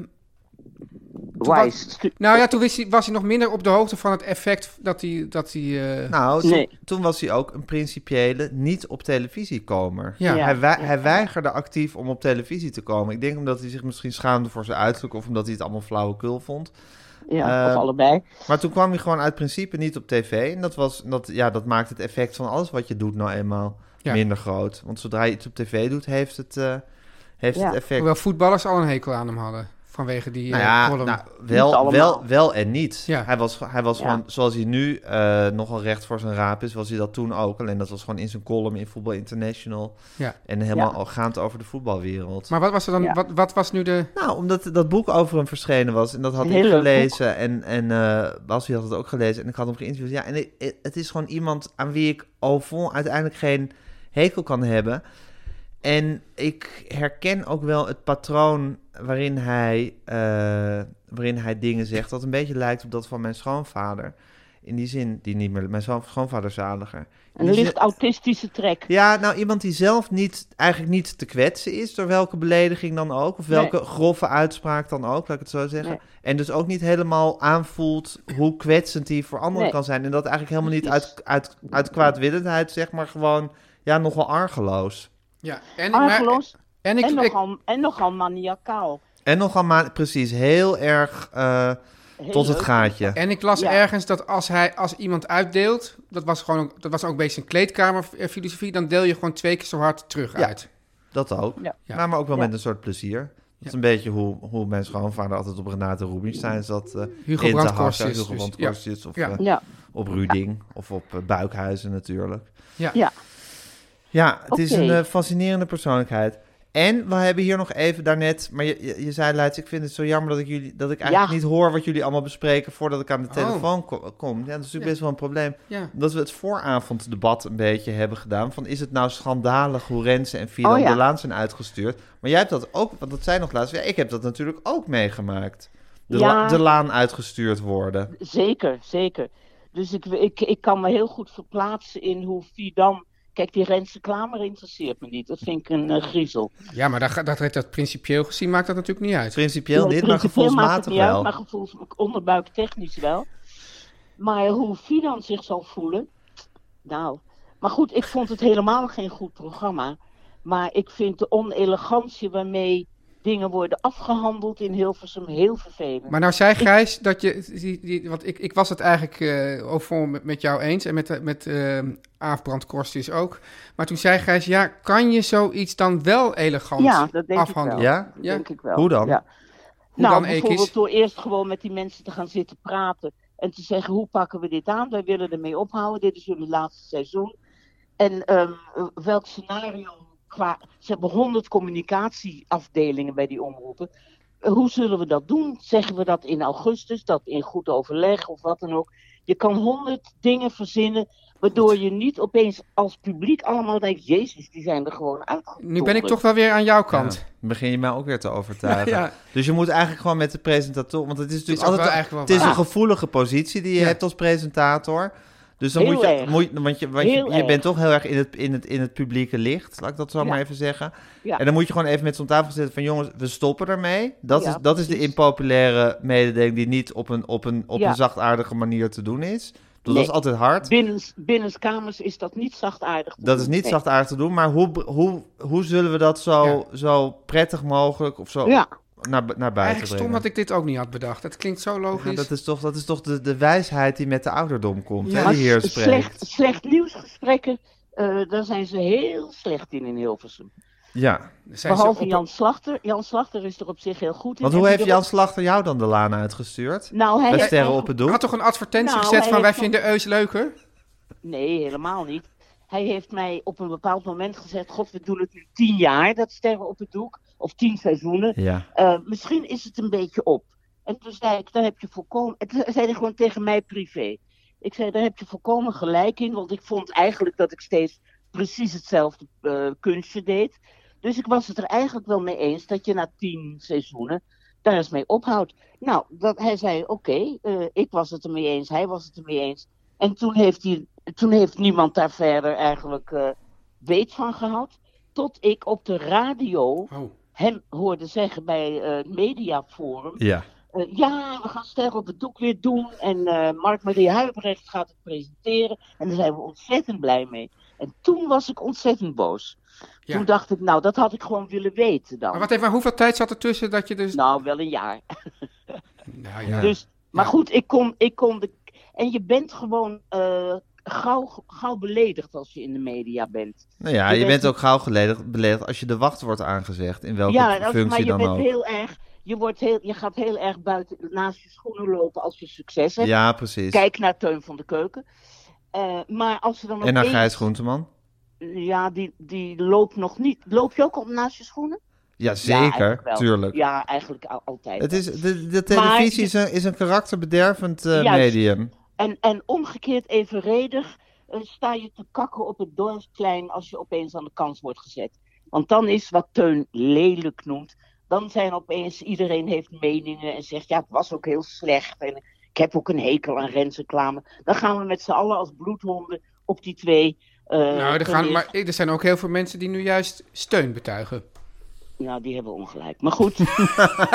S7: Wise.
S2: was-
S7: stu-
S2: Nou ja, toen wist hij, was hij nog minder op de hoogte van het effect dat hij... Dat hij eh,
S1: Nou, toen,
S7: Nee.
S1: toen was hij ook een principiële niet op televisie komen.
S2: Ja.
S7: Ja.
S1: Nou, Hij, wei- hij weigerde actief om op televisie te komen. Ik denk omdat hij zich misschien schaamde voor zijn uiterlijk of omdat hij het allemaal flauwekul vond.
S7: Ja,
S1: Eh,
S7: of allebei.
S1: Maar toen kwam hij gewoon uit principe niet op tv. En dat, was, dat, ja, dat maakt het effect van alles wat je doet nou eenmaal
S2: Ja.
S1: minder groot. Want zodra je iets op tv doet, heeft het, eh, heeft
S7: Ja.
S1: het effect.
S2: hoewel voetballers al een hekel aan hem hadden. Vanwege die
S1: Nou
S2: eh,
S1: ja,
S2: column.
S1: nou, wel,
S7: allemaal.
S1: wel, wel en niet.
S2: Ja.
S1: Hij was, hij was
S7: Ja.
S1: gewoon, zoals hij nu eh, nogal recht voor zijn raap is, was hij dat toen ook. Alleen dat was gewoon in zijn column in Voetbal International.
S2: Ja.
S1: En helemaal
S7: Ja.
S1: al gaand over de voetbalwereld.
S2: Maar wat was er dan...
S7: Ja.
S2: Wat, wat was nu de...
S1: nou, omdat dat boek over hem verschenen was. En dat had
S7: Een
S1: ik
S7: heel leuk
S1: gelezen. En, en eh, Basie had het ook gelezen. En ik had hem geïnterviewd. Ja, en ik- het is gewoon iemand aan wie ik au fond uiteindelijk geen hekel kan hebben. En ik herken ook wel het patroon waarin hij, eh, waarin hij dingen zegt. Dat een beetje lijkt op dat van mijn schoonvader. In die zin, die niet meer. Mijn scho- schoonvader is zaliger. In
S7: Een
S1: die zin-
S7: licht autistische trek.
S1: ja, nou iemand die zelf niet, eigenlijk niet te kwetsen is door welke belediging dan ook, of welke grove uitspraak dan ook, laat ik het zo zeggen.
S7: Nee.
S1: En dus ook niet helemaal aanvoelt hoe kwetsend die voor anderen
S7: Nee.
S1: kan zijn. En dat eigenlijk helemaal niet uit,
S7: Precies.
S1: uit, uit kwaadwillendheid, zeg maar gewoon, ja, nogal argeloos.
S2: Ja, en,
S7: Argeloos
S2: en ik,
S7: Ah, en,
S2: ik,
S7: nogal, en nogal maniacaal.
S1: En nogal maar, precies, heel erg eh,
S7: Heel
S1: tot het
S7: leuk.
S1: gaatje.
S2: En ik las
S7: Ja.
S2: ergens dat als, hij, als iemand uitdeelt, dat was, gewoon, ook- dat was ook een beetje een kleedkamerfilosofie, dan deel je gewoon twee keer zo hard terug
S1: Ja.
S2: uit.
S1: Dat ook.
S7: Ja.
S2: Ja.
S1: Maar, maar ook wel
S7: Ja.
S1: met een soort plezier. Dat is een beetje hoe, hoe mijn schoonvader altijd op Renate Rubinstein zat. eh
S2: Hugo
S1: in te
S2: Brandkorst
S1: hakken.
S2: is
S1: Hugo
S2: dus-
S1: Brandkorst is, Of,
S2: Ja.
S1: eh,
S7: Ja,
S1: Op Ruding of op eh, Buikhuizen natuurlijk.
S7: ja.
S1: Ja, het is
S7: Oké.
S1: een eh, fascinerende persoonlijkheid. En we hebben hier nog even daarnet, maar je, je, je zei laatst, ik vind het zo jammer dat ik, jullie, dat ik eigenlijk
S7: Ja.
S1: niet hoor wat jullie allemaal bespreken voordat ik aan de
S2: Oh.
S1: telefoon ko- kom. Ja, dat is natuurlijk best wel een probleem.
S2: Ja.
S1: Dat we het vooravonddebat een beetje hebben gedaan. Van is het nou schandalig hoe Rensen en Filan
S7: Oh ja.
S1: de Laan zijn uitgestuurd? Maar jij hebt dat ook, want dat zei nog laatst. Ja, ik heb dat natuurlijk ook meegemaakt. De,
S7: Ja.
S1: la- de Laan uitgestuurd worden.
S7: Zeker, zeker. Dus ik, ik, ik kan me heel goed verplaatsen in hoe Vidam... Kijk, die Rensse Klamer interesseert me niet. Dat vind ik een eh, griezel.
S2: Ja, maar dat, dat, dat principieel gezien maakt dat natuurlijk niet uit.
S1: Principieel
S7: Ja,
S1: dit, maar
S7: principieel maakt het
S1: gevoelsmatig
S7: niet uit,
S1: wel.
S7: maar gevoels, onderbuiktechnisch wel. Maar hoe Fidan zich zal voelen. Nou, maar goed, ik vond het helemaal geen goed programma. Maar ik vind de onelegantie waarmee dingen worden afgehandeld in Hilversum heel vervelend.
S2: Maar nou zei Gijs dat je, die, die, want ik, ik was het eigenlijk eh ook vol met, met jou eens en met, eh, met eh, Aaf Brandkorstius ook. Maar toen zei Gijs, ja, kan je zoiets dan wel elegant
S7: Ja, dat denk ik
S2: afhandelen?
S7: wel.
S1: Ja?
S7: Dat
S2: ja.
S7: denk ik wel.
S1: Hoe dan?
S7: Ja.
S2: Hoe
S7: nou,
S2: dan, Ekies?
S7: bijvoorbeeld door eerst gewoon met die mensen te gaan zitten praten. En te zeggen, hoe pakken we dit aan? Wij willen ermee ophouden. Dit is jullie laatste seizoen. En ehm, welk scenario qua... Ze hebben honderd communicatieafdelingen bij die omroepen. Eh, Hoe zullen we dat doen? Zeggen we dat in augustus? Dat in goed overleg of wat dan ook? Je kan honderd dingen verzinnen... waardoor je niet opeens als publiek allemaal denkt... Jezus, die zijn er gewoon uitgekomen.
S2: Nu ben ik toch wel weer aan jouw kant.
S1: Ja, dan begin je mij ook weer te overtuigen.
S2: [laughs] Ja.
S1: Dus je moet eigenlijk gewoon met de presentator... Want het is natuurlijk
S2: ook wel
S1: altijd...
S2: eigenlijk wel
S1: het is
S2: waar.
S1: een gevoelige positie die je
S2: Ja.
S1: hebt als presentator. Dus dan
S7: Heel
S1: moet je...
S7: erg.
S1: Moet, je- want je, want je,
S7: Heel
S1: je
S7: erg.
S1: bent toch heel erg in het, in het, in het publieke licht. Laat ik dat zo
S7: Ja.
S1: maar even zeggen.
S7: Ja.
S1: En dan moet je gewoon even met zo'n tafel gaan zitten van... Jongens, we stoppen ermee. Dat,
S7: Ja,
S1: is, dat is de
S7: precies.
S1: impopulaire mededeling die niet op een, op een, op
S7: Ja.
S1: een zachtaardige manier te doen is. Dus
S7: Nee.
S1: dat is altijd hard.
S7: Binnens, binnenskamers is dat niet zachtaardig. te
S1: Dat
S7: doen.
S1: is niet
S7: Nee.
S1: zachtaardig te doen, maar hoe, hoe, hoe zullen we dat zo, zo prettig mogelijk of zo
S7: Ja,
S1: naar, bu- naar buiten
S2: Eigenlijk stom
S1: brengen.
S2: dat ik dit ook niet had bedacht. Het klinkt zo
S1: Ja,
S2: logisch.
S1: dat is toch, dat is toch de, de wijsheid die met de ouderdom komt,
S2: Ja.
S1: hè, die hier
S7: s-
S1: spreekt.
S7: slecht, slecht nieuwsgesprekken, eh, daar zijn ze heel slecht in in Hilversum.
S1: Ja,
S2: Zijn ze
S7: Behalve
S2: op-
S7: Jan Slachter. Jan Slachter is er op zich heel goed in.
S1: want
S7: En
S1: hoe
S7: die
S1: heeft
S7: erop-
S1: Jan Slachter jou dan de laan uitgestuurd?
S7: Nou, hij
S1: Bij
S7: heeft
S1: Sterren
S7: mij
S1: op het
S2: Hij
S1: Doel?
S2: had toch een advertentie
S7: Nou,
S2: gezet
S7: hij
S2: van wij
S7: heeft-
S2: vinden Eus leuker?
S7: Nee, helemaal niet. Hij heeft mij op een bepaald moment gezegd: God, we doen het nu tien jaar, dat Sterren op het Doek. Of tien seizoenen.
S1: Ja.
S7: Eh, misschien is het een beetje op. En toen zei ik, daar heb je volkomen... En toen zei hij gewoon tegen mij privé. Ik zei, daar heb je volkomen gelijk in. Want ik vond eigenlijk dat ik steeds precies hetzelfde eh, kunstje deed. Dus ik was het er eigenlijk wel mee eens dat je na tien seizoenen daar eens mee ophoudt. Nou, dat, hij zei, oké, eh, ik was het ermee eens, hij was het ermee eens. En toen heeft, hij, toen heeft niemand daar verder eigenlijk eh, weet van gehad. Tot ik op de radio
S2: Oh.
S7: hem hoorde zeggen bij eh, het mediaforum
S1: Ja.
S7: eh, eh, ja, we gaan Ster op het doek weer doen. En eh, Mark-Marie Huibrecht gaat het presenteren. En daar zijn we ontzettend blij mee. En toen was ik ontzettend boos.
S2: Ja.
S7: Toen dacht ik, nou, dat had ik gewoon willen weten dan.
S2: Maar wat even, maar hoeveel tijd zat er tussen dat je dus...
S7: Nou, wel een jaar.
S2: Nou ja.
S7: Dus, maar
S2: Ja.
S7: goed, ik kon, ik kon de... En je bent gewoon eh, gauw, gauw beledigd als je in de media bent.
S1: Nou ja,
S7: Je
S1: je
S7: bent-
S1: bent ook gauw beledigd, beledigd als je de wacht wordt aangezegd. In welke
S7: ja, en als- maar
S1: functie
S7: je
S1: dan
S7: bent
S1: ook.
S7: heel erg... Je, wordt heel, je gaat heel erg buiten naast je schoenen lopen als je succes hebt.
S1: Ja, precies.
S7: Kijk naar Teun van de Keuken. Eh, maar als er dan
S1: en naar
S7: opeens-
S1: Gijs Groenteman?
S7: Ja, die, die loopt nog niet. Loop je ook op naast je schoenen?
S1: Ja,
S7: Ja,
S1: zeker.
S7: eigenlijk wel.
S1: tuurlijk.
S7: Ja, eigenlijk al- altijd.
S1: Het is, de, de
S7: Maar-
S1: televisie is, een, is een karakterbedervend eh,
S7: Juist.
S1: medium.
S7: En, en omgekeerd evenredig eh, sta je te kakken op het dorpsplein als je opeens aan de kans wordt gezet. Want dan is wat Teun lelijk noemt, dan zijn opeens iedereen heeft meningen en zegt ja het was ook heel slecht en ik heb ook een hekel aan rensreclame. Dan gaan we met z'n allen als bloedhonden op die twee. eh,
S2: Nou, er, gaan,
S7: toneels-
S2: maar er zijn ook heel veel mensen die nu juist steun betuigen.
S7: Ja, die hebben ongelijk. Maar goed. [laughs]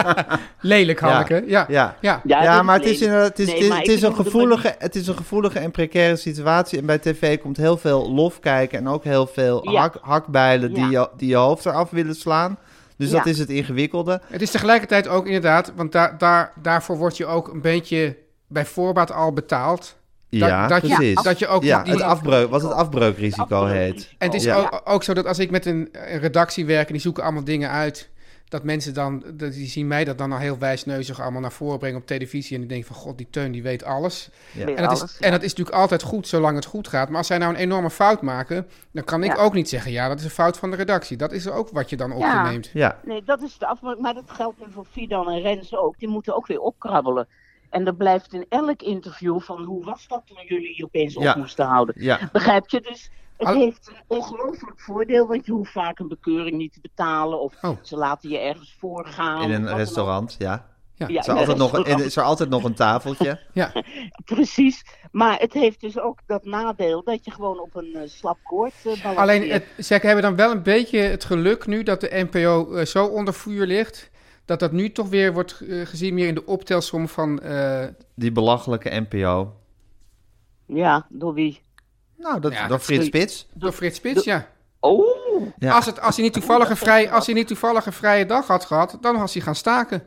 S2: Lelijk, Hanneke. Ja. Ja.
S1: Ja. Ja,
S7: dat
S1: maar het is,
S7: lelijk.
S1: inderdaad, het, is,
S7: Nee,
S1: het, is,
S7: maar
S1: het
S7: ik
S1: is een
S7: bedoel de
S1: gevoelige, het is een gevoelige en precaire situatie. En bij tv komt heel veel lof kijken en ook heel veel
S7: Ja.
S1: hak, hakbijlen die,
S7: Ja.
S1: je, die je hoofd eraf willen slaan. Dus
S7: Ja.
S1: dat is het ingewikkelde.
S2: Het is tegelijkertijd ook inderdaad, want daar daar, daarvoor word je ook een beetje bij voorbaat al betaald. Dat-
S1: ja,
S2: dat je-
S1: precies.
S2: dat je ook
S1: ja,
S2: die-
S1: het afbreuk, wat het afbreukrisico heet.
S2: En het is
S1: Ja.
S2: ook, ook zo dat als ik met een, een redactie werk en die zoeken allemaal dingen uit, dat mensen dan, dat die zien mij dat dan al heel wijsneuzig allemaal naar voren brengen op televisie. En die denken van, god, die Teun die weet alles.
S7: Weer
S2: En dat,
S7: alles,
S2: is, en dat is natuurlijk altijd goed zolang het goed gaat. Maar als zij nou een enorme fout maken, dan kan ik
S7: Ja.
S2: ook niet zeggen, ja, dat is een fout van de redactie. Dat is ook wat je dan op je
S7: Ja.
S2: neemt.
S1: Ja,
S7: Nee, dat is de afmaak. Maar dat geldt nu voor Fidan en Rens ook. Die moeten ook weer opkrabbelen. En er blijft in elk interview van hoe was dat toen jullie je opeens op
S1: Ja.
S7: moesten houden.
S1: ja.
S7: Begrijp je? Dus het
S2: Al-
S7: heeft een ongelooflijk voordeel, want je hoeft vaak een bekeuring niet te betalen. Of
S2: Oh.
S7: ze laten je ergens voor gaan.
S1: In
S7: of Nou, wat
S1: een
S7: dan
S1: restaurant, ja.
S2: Ja.
S7: ook. Ja,
S1: Is
S7: in
S1: er,
S7: een
S1: altijd nog, en
S7: restaurant.
S1: is er altijd nog een tafeltje?
S2: Ja.
S7: Precies. Maar het heeft dus ook dat nadeel dat je gewoon op een eh, slap koord eh, balanceert.
S2: [laughs] Alleen, het, ze hebben dan wel een beetje het geluk nu dat de NPO eh, zo onder vuur ligt, dat dat nu toch weer wordt eh, gezien meer in de optelsom van... eh,
S1: Die belachelijke NPO.
S7: Ja, door wie?
S1: Nou, dat,
S2: Ja,
S1: dan Frits Spits.
S2: door Frits Spits, ja.
S7: Oh,
S1: Ja.
S2: Als, het, als, hij niet toevallig een vrij, als hij niet toevallig een vrije dag had gehad, dan was hij gaan staken.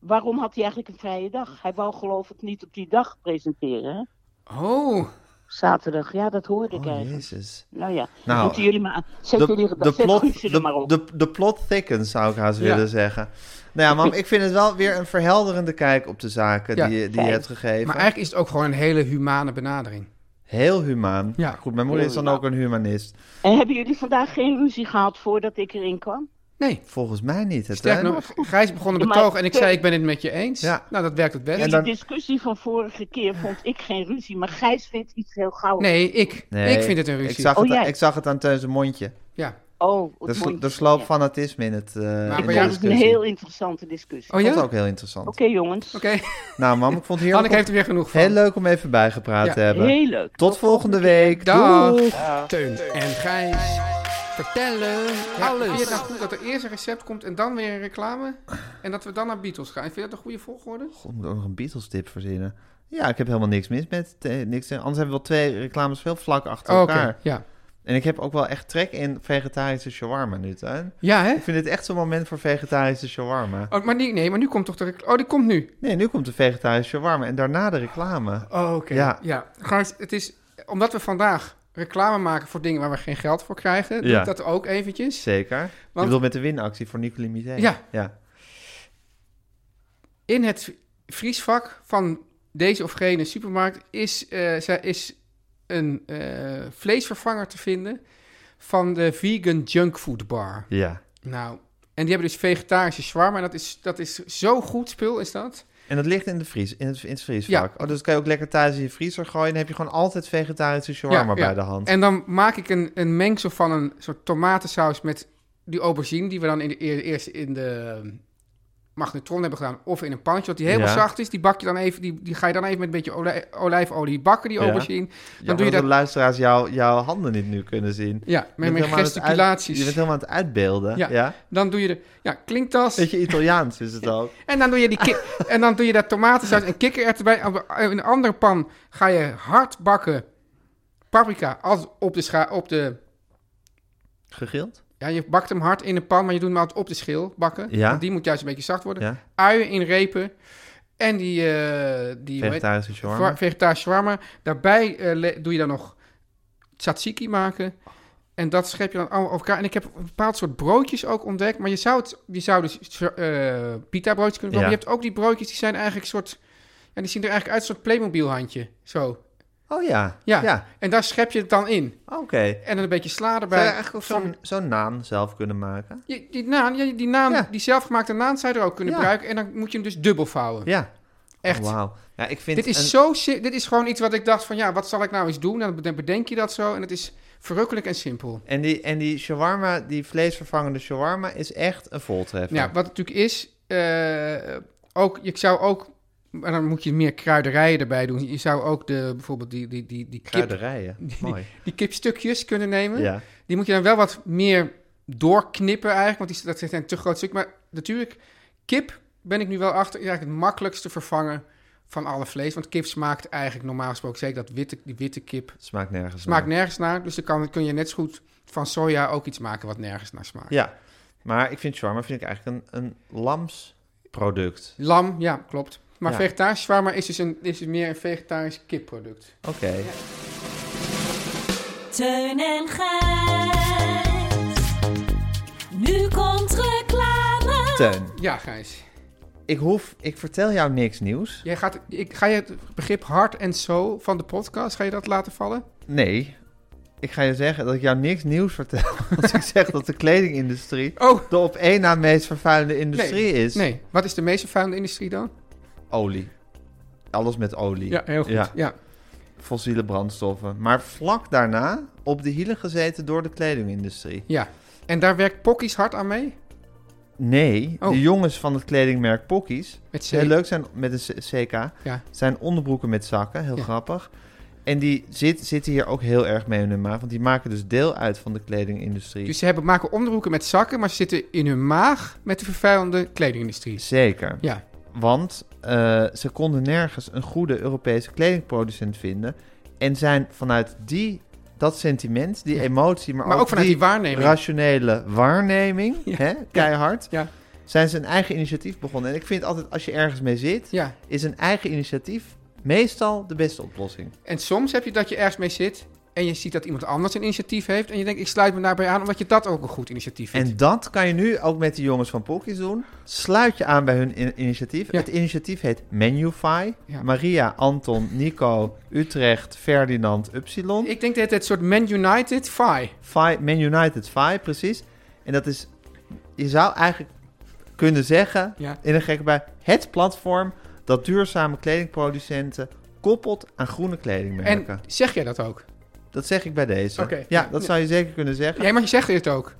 S7: waarom had hij eigenlijk een vrije dag? Hij wou geloof ik niet op die dag presenteren, hè?
S2: Oh,
S7: Zaterdag, ja, dat hoorde ik
S1: Oh,
S7: eigenlijk.
S1: jezus.
S7: Nou ja,
S1: Nou,
S7: moeten jullie maar aan. Zet jullie
S1: De,
S7: gedachten
S1: de, plot,
S7: er maar
S1: de,
S7: op.
S1: de, de plot thickens, zou ik haast
S2: Ja.
S1: willen zeggen. Nou ja,
S7: [laughs]
S1: mam, ik vind het wel weer een verhelderende kijk op de zaken
S2: Ja.
S1: die, je- die je
S7: Fijn.
S1: hebt gegeven.
S2: maar eigenlijk is het ook gewoon een hele humane benadering.
S1: Heel humaan.
S2: Ja.
S1: Goed, mijn moeder
S7: Heel
S1: is dan
S7: humaan.
S1: ook een humanist.
S7: En hebben jullie vandaag geen ruzie gehad voordat ik erin kwam?
S2: Nee,
S1: Volgens mij niet. Het
S2: sterk nog, Gijs begon een
S7: Ja, maar-
S2: betoog en ik zei, ik ben het met je eens.
S1: Ja.
S2: Nou, dat werkt het best.
S7: In
S1: En dan-
S7: de discussie van vorige keer vond ik geen ruzie, maar Gijs vindt iets heel gauw.
S2: Nee, ik. ik vind het een ruzie.
S1: Ik zag,
S7: Oh,
S1: het,
S7: jij.
S1: ik zag het aan Teun zijn mondje.
S2: Ja.
S7: Oh, het
S1: Er, slo-
S7: mondje.
S1: er sloop
S7: Ja.
S1: fanatisme in het. eh in
S2: bij
S1: de
S7: Ja,
S2: jou
S7: dat is een
S1: discussie.
S7: heel interessante discussie.
S2: Oh
S1: Ik
S2: ja?
S1: vond het
S2: Oké.
S1: ook heel interessant.
S7: Oké, jongens.
S1: Nou, mam, ik vond het heerlijk,
S2: Hanneke heeft er weer genoeg
S1: om- heel
S2: van.
S1: leuk om even bijgepraat
S2: Ja.
S1: te hebben.
S7: Heel leuk.
S1: Tot volgende week.
S2: Dag.
S1: Doeg.
S4: Teun en Gijs vertellen
S2: Alles. Vind je
S4: alles.
S2: het nou goed dat er eerst een recept komt en dan weer een reclame? En dat we dan naar Beatles gaan? Vind je dat een goede volgorde?
S1: God, ik moet ook nog een Beatles tip verzinnen. Ja, ik heb helemaal niks mis met eh, niks. Anders hebben we wel twee reclames veel vlak achter
S2: Oh, Oké,
S1: elkaar.
S2: ja.
S1: En ik heb ook wel echt trek in vegetarische shawarma nu, Tuin.
S2: Ja, hè?
S1: Ik vind dit echt zo'n moment voor vegetarische shawarma.
S2: Oh, maar die, nee, maar nu komt toch de reclame. Oh, die komt nu.
S1: Nee, nu komt de vegetarische shawarma en daarna de reclame.
S2: Oh, oké. Ja.
S1: Ja.
S2: Gijs, het is omdat we vandaag reclame maken voor dingen waar we geen geld voor krijgen, doe
S1: Ja.
S2: ik dat ook eventjes.
S1: Zeker. Je
S2: Want-
S1: bedoelt met de winactie voor Nicolie Mizé.
S2: Ja.
S1: ja.
S2: In het vriesvak van deze of gene supermarkt is, eh, zij- is een eh, vleesvervanger te vinden van de vegan junkfood bar.
S1: Ja.
S2: Nou, en die hebben dus vegetarische shawarma. En dat is, dat is zo goed spul, is dat?
S1: En dat ligt in, de vries, in, het, in het vriesvak.
S2: Ja.
S1: Oh, dus dat kan je ook lekker thuis in je vriezer gooien. Dan heb je gewoon altijd vegetarische shawarma bij de hand.
S2: En dan maak ik een, een mengsel van een soort tomatensaus met die aubergine die we dan in de eer- eerst in de magnetron hebben gedaan. Of in een pannetje, wat die helemaal
S1: Ja.
S2: zacht is. Die bak je dan even, die, die ga je dan even met een beetje olij- olijfolie bakken, die
S1: Ja.
S2: aubergine.
S1: Ja,
S2: Dan doe je
S1: dat
S2: dat...
S1: de luisteraars jou, jouw handen niet nu kunnen zien. Je
S2: Ja, met
S1: bent
S2: mijn
S1: helemaal aan het uit-
S2: gesticulaties.
S1: Je bent helemaal aan het uitbeelden.
S2: Ja.
S1: Ja.
S2: Dan doe je de ja, klinktas.
S1: Beetje Italiaans is het ook.
S2: En dan doe je, die ki-
S1: [laughs]
S2: en dan doe je daar tomatensaus en kikkererwten bij. In een andere pan ga je hard bakken paprika altijd op de scha op de...
S1: Gegrild?
S2: Ja, je bakt hem hard in de pan, maar je doet hem altijd op de schil bakken.
S1: Ja.
S2: Want die moet juist een beetje zacht worden.
S1: Ja.
S2: Uien in repen. En die... eh die hoe heet-
S1: Vegetarische shawarma.
S2: Va- Vegetarische shawarma. Daarbij eh, le- doe je dan nog tzatziki maken. En dat schep je dan allemaal over elkaar. En ik heb een bepaald soort broodjes ook ontdekt. Maar je zou, het, je zou dus eh pita broodjes kunnen kopen.
S1: Ja.
S2: Je hebt ook die broodjes die zijn eigenlijk een soort... Ja, die zien er eigenlijk uit als een soort Playmobil handje. Zo.
S1: Oh ja.
S2: Ja.
S1: Ja.
S2: En daar schep je het dan in.
S1: Oké.
S2: En dan een beetje sla erbij.
S1: Zou je eigenlijk ook
S2: Van-
S1: zo'n zo'n naan zelf kunnen maken?
S2: Die, die naam, ja, die, naam
S1: Ja.
S2: die zelfgemaakte naam zou je er ook kunnen
S1: Ja.
S2: gebruiken. En dan moet je hem dus dubbel vouwen.
S1: Ja.
S2: Echt.
S1: Oh, Wauw. Ja, ik vind
S2: Dit is
S1: een-
S2: zo si- Dit is gewoon iets wat ik dacht van ja, wat zal ik nou eens doen? En dan bedenk je dat zo. En het is verrukkelijk en simpel.
S1: En die, en die shawarma, die vleesvervangende shawarma, is echt een voltreffer.
S2: Ja, wat het natuurlijk is, eh, ook, ik zou ook, maar dan moet je meer kruiderijen erbij doen. Je zou ook de, bijvoorbeeld die, die, die, die, kip,
S1: Kruiderijen. [laughs] Mooi.
S2: die kipstukjes kunnen nemen.
S1: Ja.
S2: Die moet je dan wel wat meer doorknippen eigenlijk, want die, dat is een te groot stuk. Maar natuurlijk, kip ben ik nu wel achter, is eigenlijk het makkelijkste vervangen van alle vlees. Want kip smaakt eigenlijk normaal gesproken, zeker dat witte, die witte kip,
S1: Smaakt nergens
S2: smaakt
S1: naar.
S2: nergens naar. Dus dan kan, kun je net zo goed van soja ook iets maken wat nergens naar smaakt.
S1: Ja. Maar ik vind shawarma vind ik eigenlijk een, een lamsproduct.
S2: Lam, ja, klopt. Maar
S1: Ja.
S2: vegetarisch shawarma is dus, een, is dus meer een vegetarisch kipproduct.
S1: Oké.
S5: Teun en Gijs. Nu komt reclame.
S1: Teun,
S2: Ja, Gijs.
S1: ik, hoef, ik vertel jou niks nieuws.
S2: Jij gaat, ik, ga je het begrip hart en soul van de podcast, ga je dat laten vallen?
S1: Nee. Ik ga je zeggen dat ik jou niks nieuws vertel. [laughs] Als ik zeg dat de kledingindustrie
S2: Oh.
S1: de op één na meest vervuilende industrie is.
S2: Nee, wat is de meest vervuilende industrie dan?
S1: Olie. Alles met olie.
S2: Ja, heel goed. Ja.
S1: fossiele brandstoffen. Maar vlak daarna op de hielen gezeten door de kledingindustrie.
S2: ja. En daar werkt Pockies hard aan mee?
S1: Nee,
S2: Oh.
S1: de jongens van het kledingmerk Pockies,
S2: Met C.
S1: die heel leuk zijn met een C- CK,
S2: Ja.
S1: zijn onderbroeken met zakken, heel
S2: Ja.
S1: grappig. En die zit, zitten hier ook heel erg mee in hun maag, want die maken dus deel uit van de kledingindustrie.
S2: Dus ze hebben, maken onderbroeken met zakken, maar ze zitten in hun maag met de vervuilende kledingindustrie.
S1: Zeker.
S2: Ja.
S1: Want eh, ze konden nergens een goede Europese kledingproducent vinden. En zijn vanuit die, dat sentiment, die emotie, maar,
S2: Maar ook vanuit die waarneming.
S1: rationele waarneming,
S2: Ja.
S1: hè, keihard,
S2: Ja.
S1: zijn ze een eigen initiatief begonnen. En ik vind altijd, als je ergens mee zit,
S2: Ja.
S1: is een eigen initiatief meestal de beste oplossing.
S2: En soms heb je dat je ergens mee zit en je ziet dat iemand anders een initiatief heeft en je denkt ik sluit me daarbij aan omdat je dat ook een goed initiatief vindt.
S1: En dat kan je nu ook met de jongens van Pokkies doen. Sluit je aan bij hun in- initiatief.
S2: Ja.
S1: Het initiatief heet Menufy.
S2: Ja.
S1: Maria, Anton, Nico, Utrecht, Ferdinand, Upsilon.
S2: Ik denk dat het soort Man United fi.
S1: Fi, Man United Fi, precies. En dat is, je zou eigenlijk kunnen zeggen,
S2: Ja.
S1: in een gekke bij, het platform dat duurzame kledingproducenten koppelt aan groene kledingmerken.
S2: En zeg jij dat ook?
S1: Dat zeg ik bij deze.
S2: Oké.
S1: Ja,
S2: Ja.
S1: dat zou je zeker kunnen zeggen.
S2: Ja, maar je zegt het ook.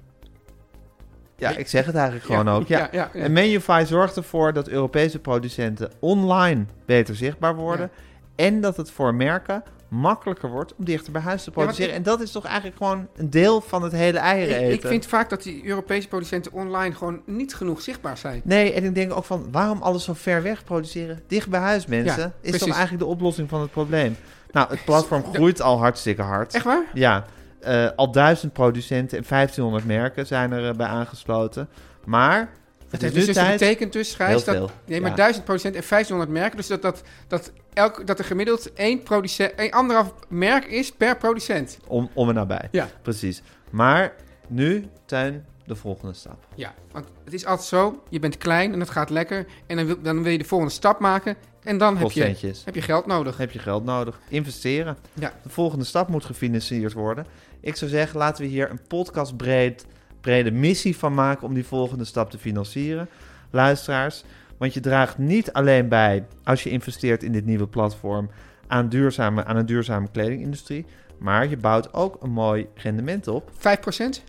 S1: Ja, ik zeg het eigenlijk gewoon ook. Ja.
S2: ja, ja, ja.
S1: En Menufy zorgt ervoor dat Europese producenten online beter zichtbaar worden. En dat het voor merken makkelijker wordt om dichter bij huis te
S2: want
S1: produceren.
S2: ik-
S1: en dat is toch eigenlijk gewoon een deel van het hele eieren
S2: Ik,
S1: eten.
S2: ik vind vaak dat die Europese producenten online gewoon niet genoeg zichtbaar zijn.
S1: Nee, en ik denk ook van waarom alles zo ver weg produceren? Dicht bij huis, mensen.
S2: Ja,
S1: is
S2: precies.
S1: dan eigenlijk de oplossing van het probleem? Nou, het platform groeit al hartstikke hard.
S2: Echt waar?
S1: Ja, eh, al duizend producenten en 1500 merken zijn er eh, bij aangesloten. Maar
S2: Dat
S1: het
S2: heeft
S1: is
S2: dus,
S1: nu
S2: dus
S1: tijd.
S2: betekent dus, Gijs,
S1: Heel
S2: dat,
S1: veel,
S2: nee, maar
S1: ja.
S2: 1000 procent en 1500 merken. Dus dat, dat, dat, elk, dat er gemiddeld één producent, één anderhalf merk is per producent.
S1: Om, om en nabij.
S2: Ja.
S1: Precies. Maar nu, Tuin, de volgende stap.
S2: Ja, want het is altijd zo, je bent klein en het gaat lekker. En dan wil, dan wil je de volgende stap maken. En dan heb
S1: Kost
S2: je,
S1: centjes.
S2: heb je geld nodig.
S1: Dan heb je geld nodig. Investeren.
S2: Ja.
S1: De volgende stap moet gefinancierd worden. Ik zou zeggen, laten we hier een podcastbreed brede missie van maken om die volgende stap te financieren. Luisteraars, want je draagt niet alleen bij als je investeert in dit nieuwe platform aan, duurzame, aan een duurzame kledingindustrie, maar je bouwt ook een mooi rendement op.
S2: 5 procent?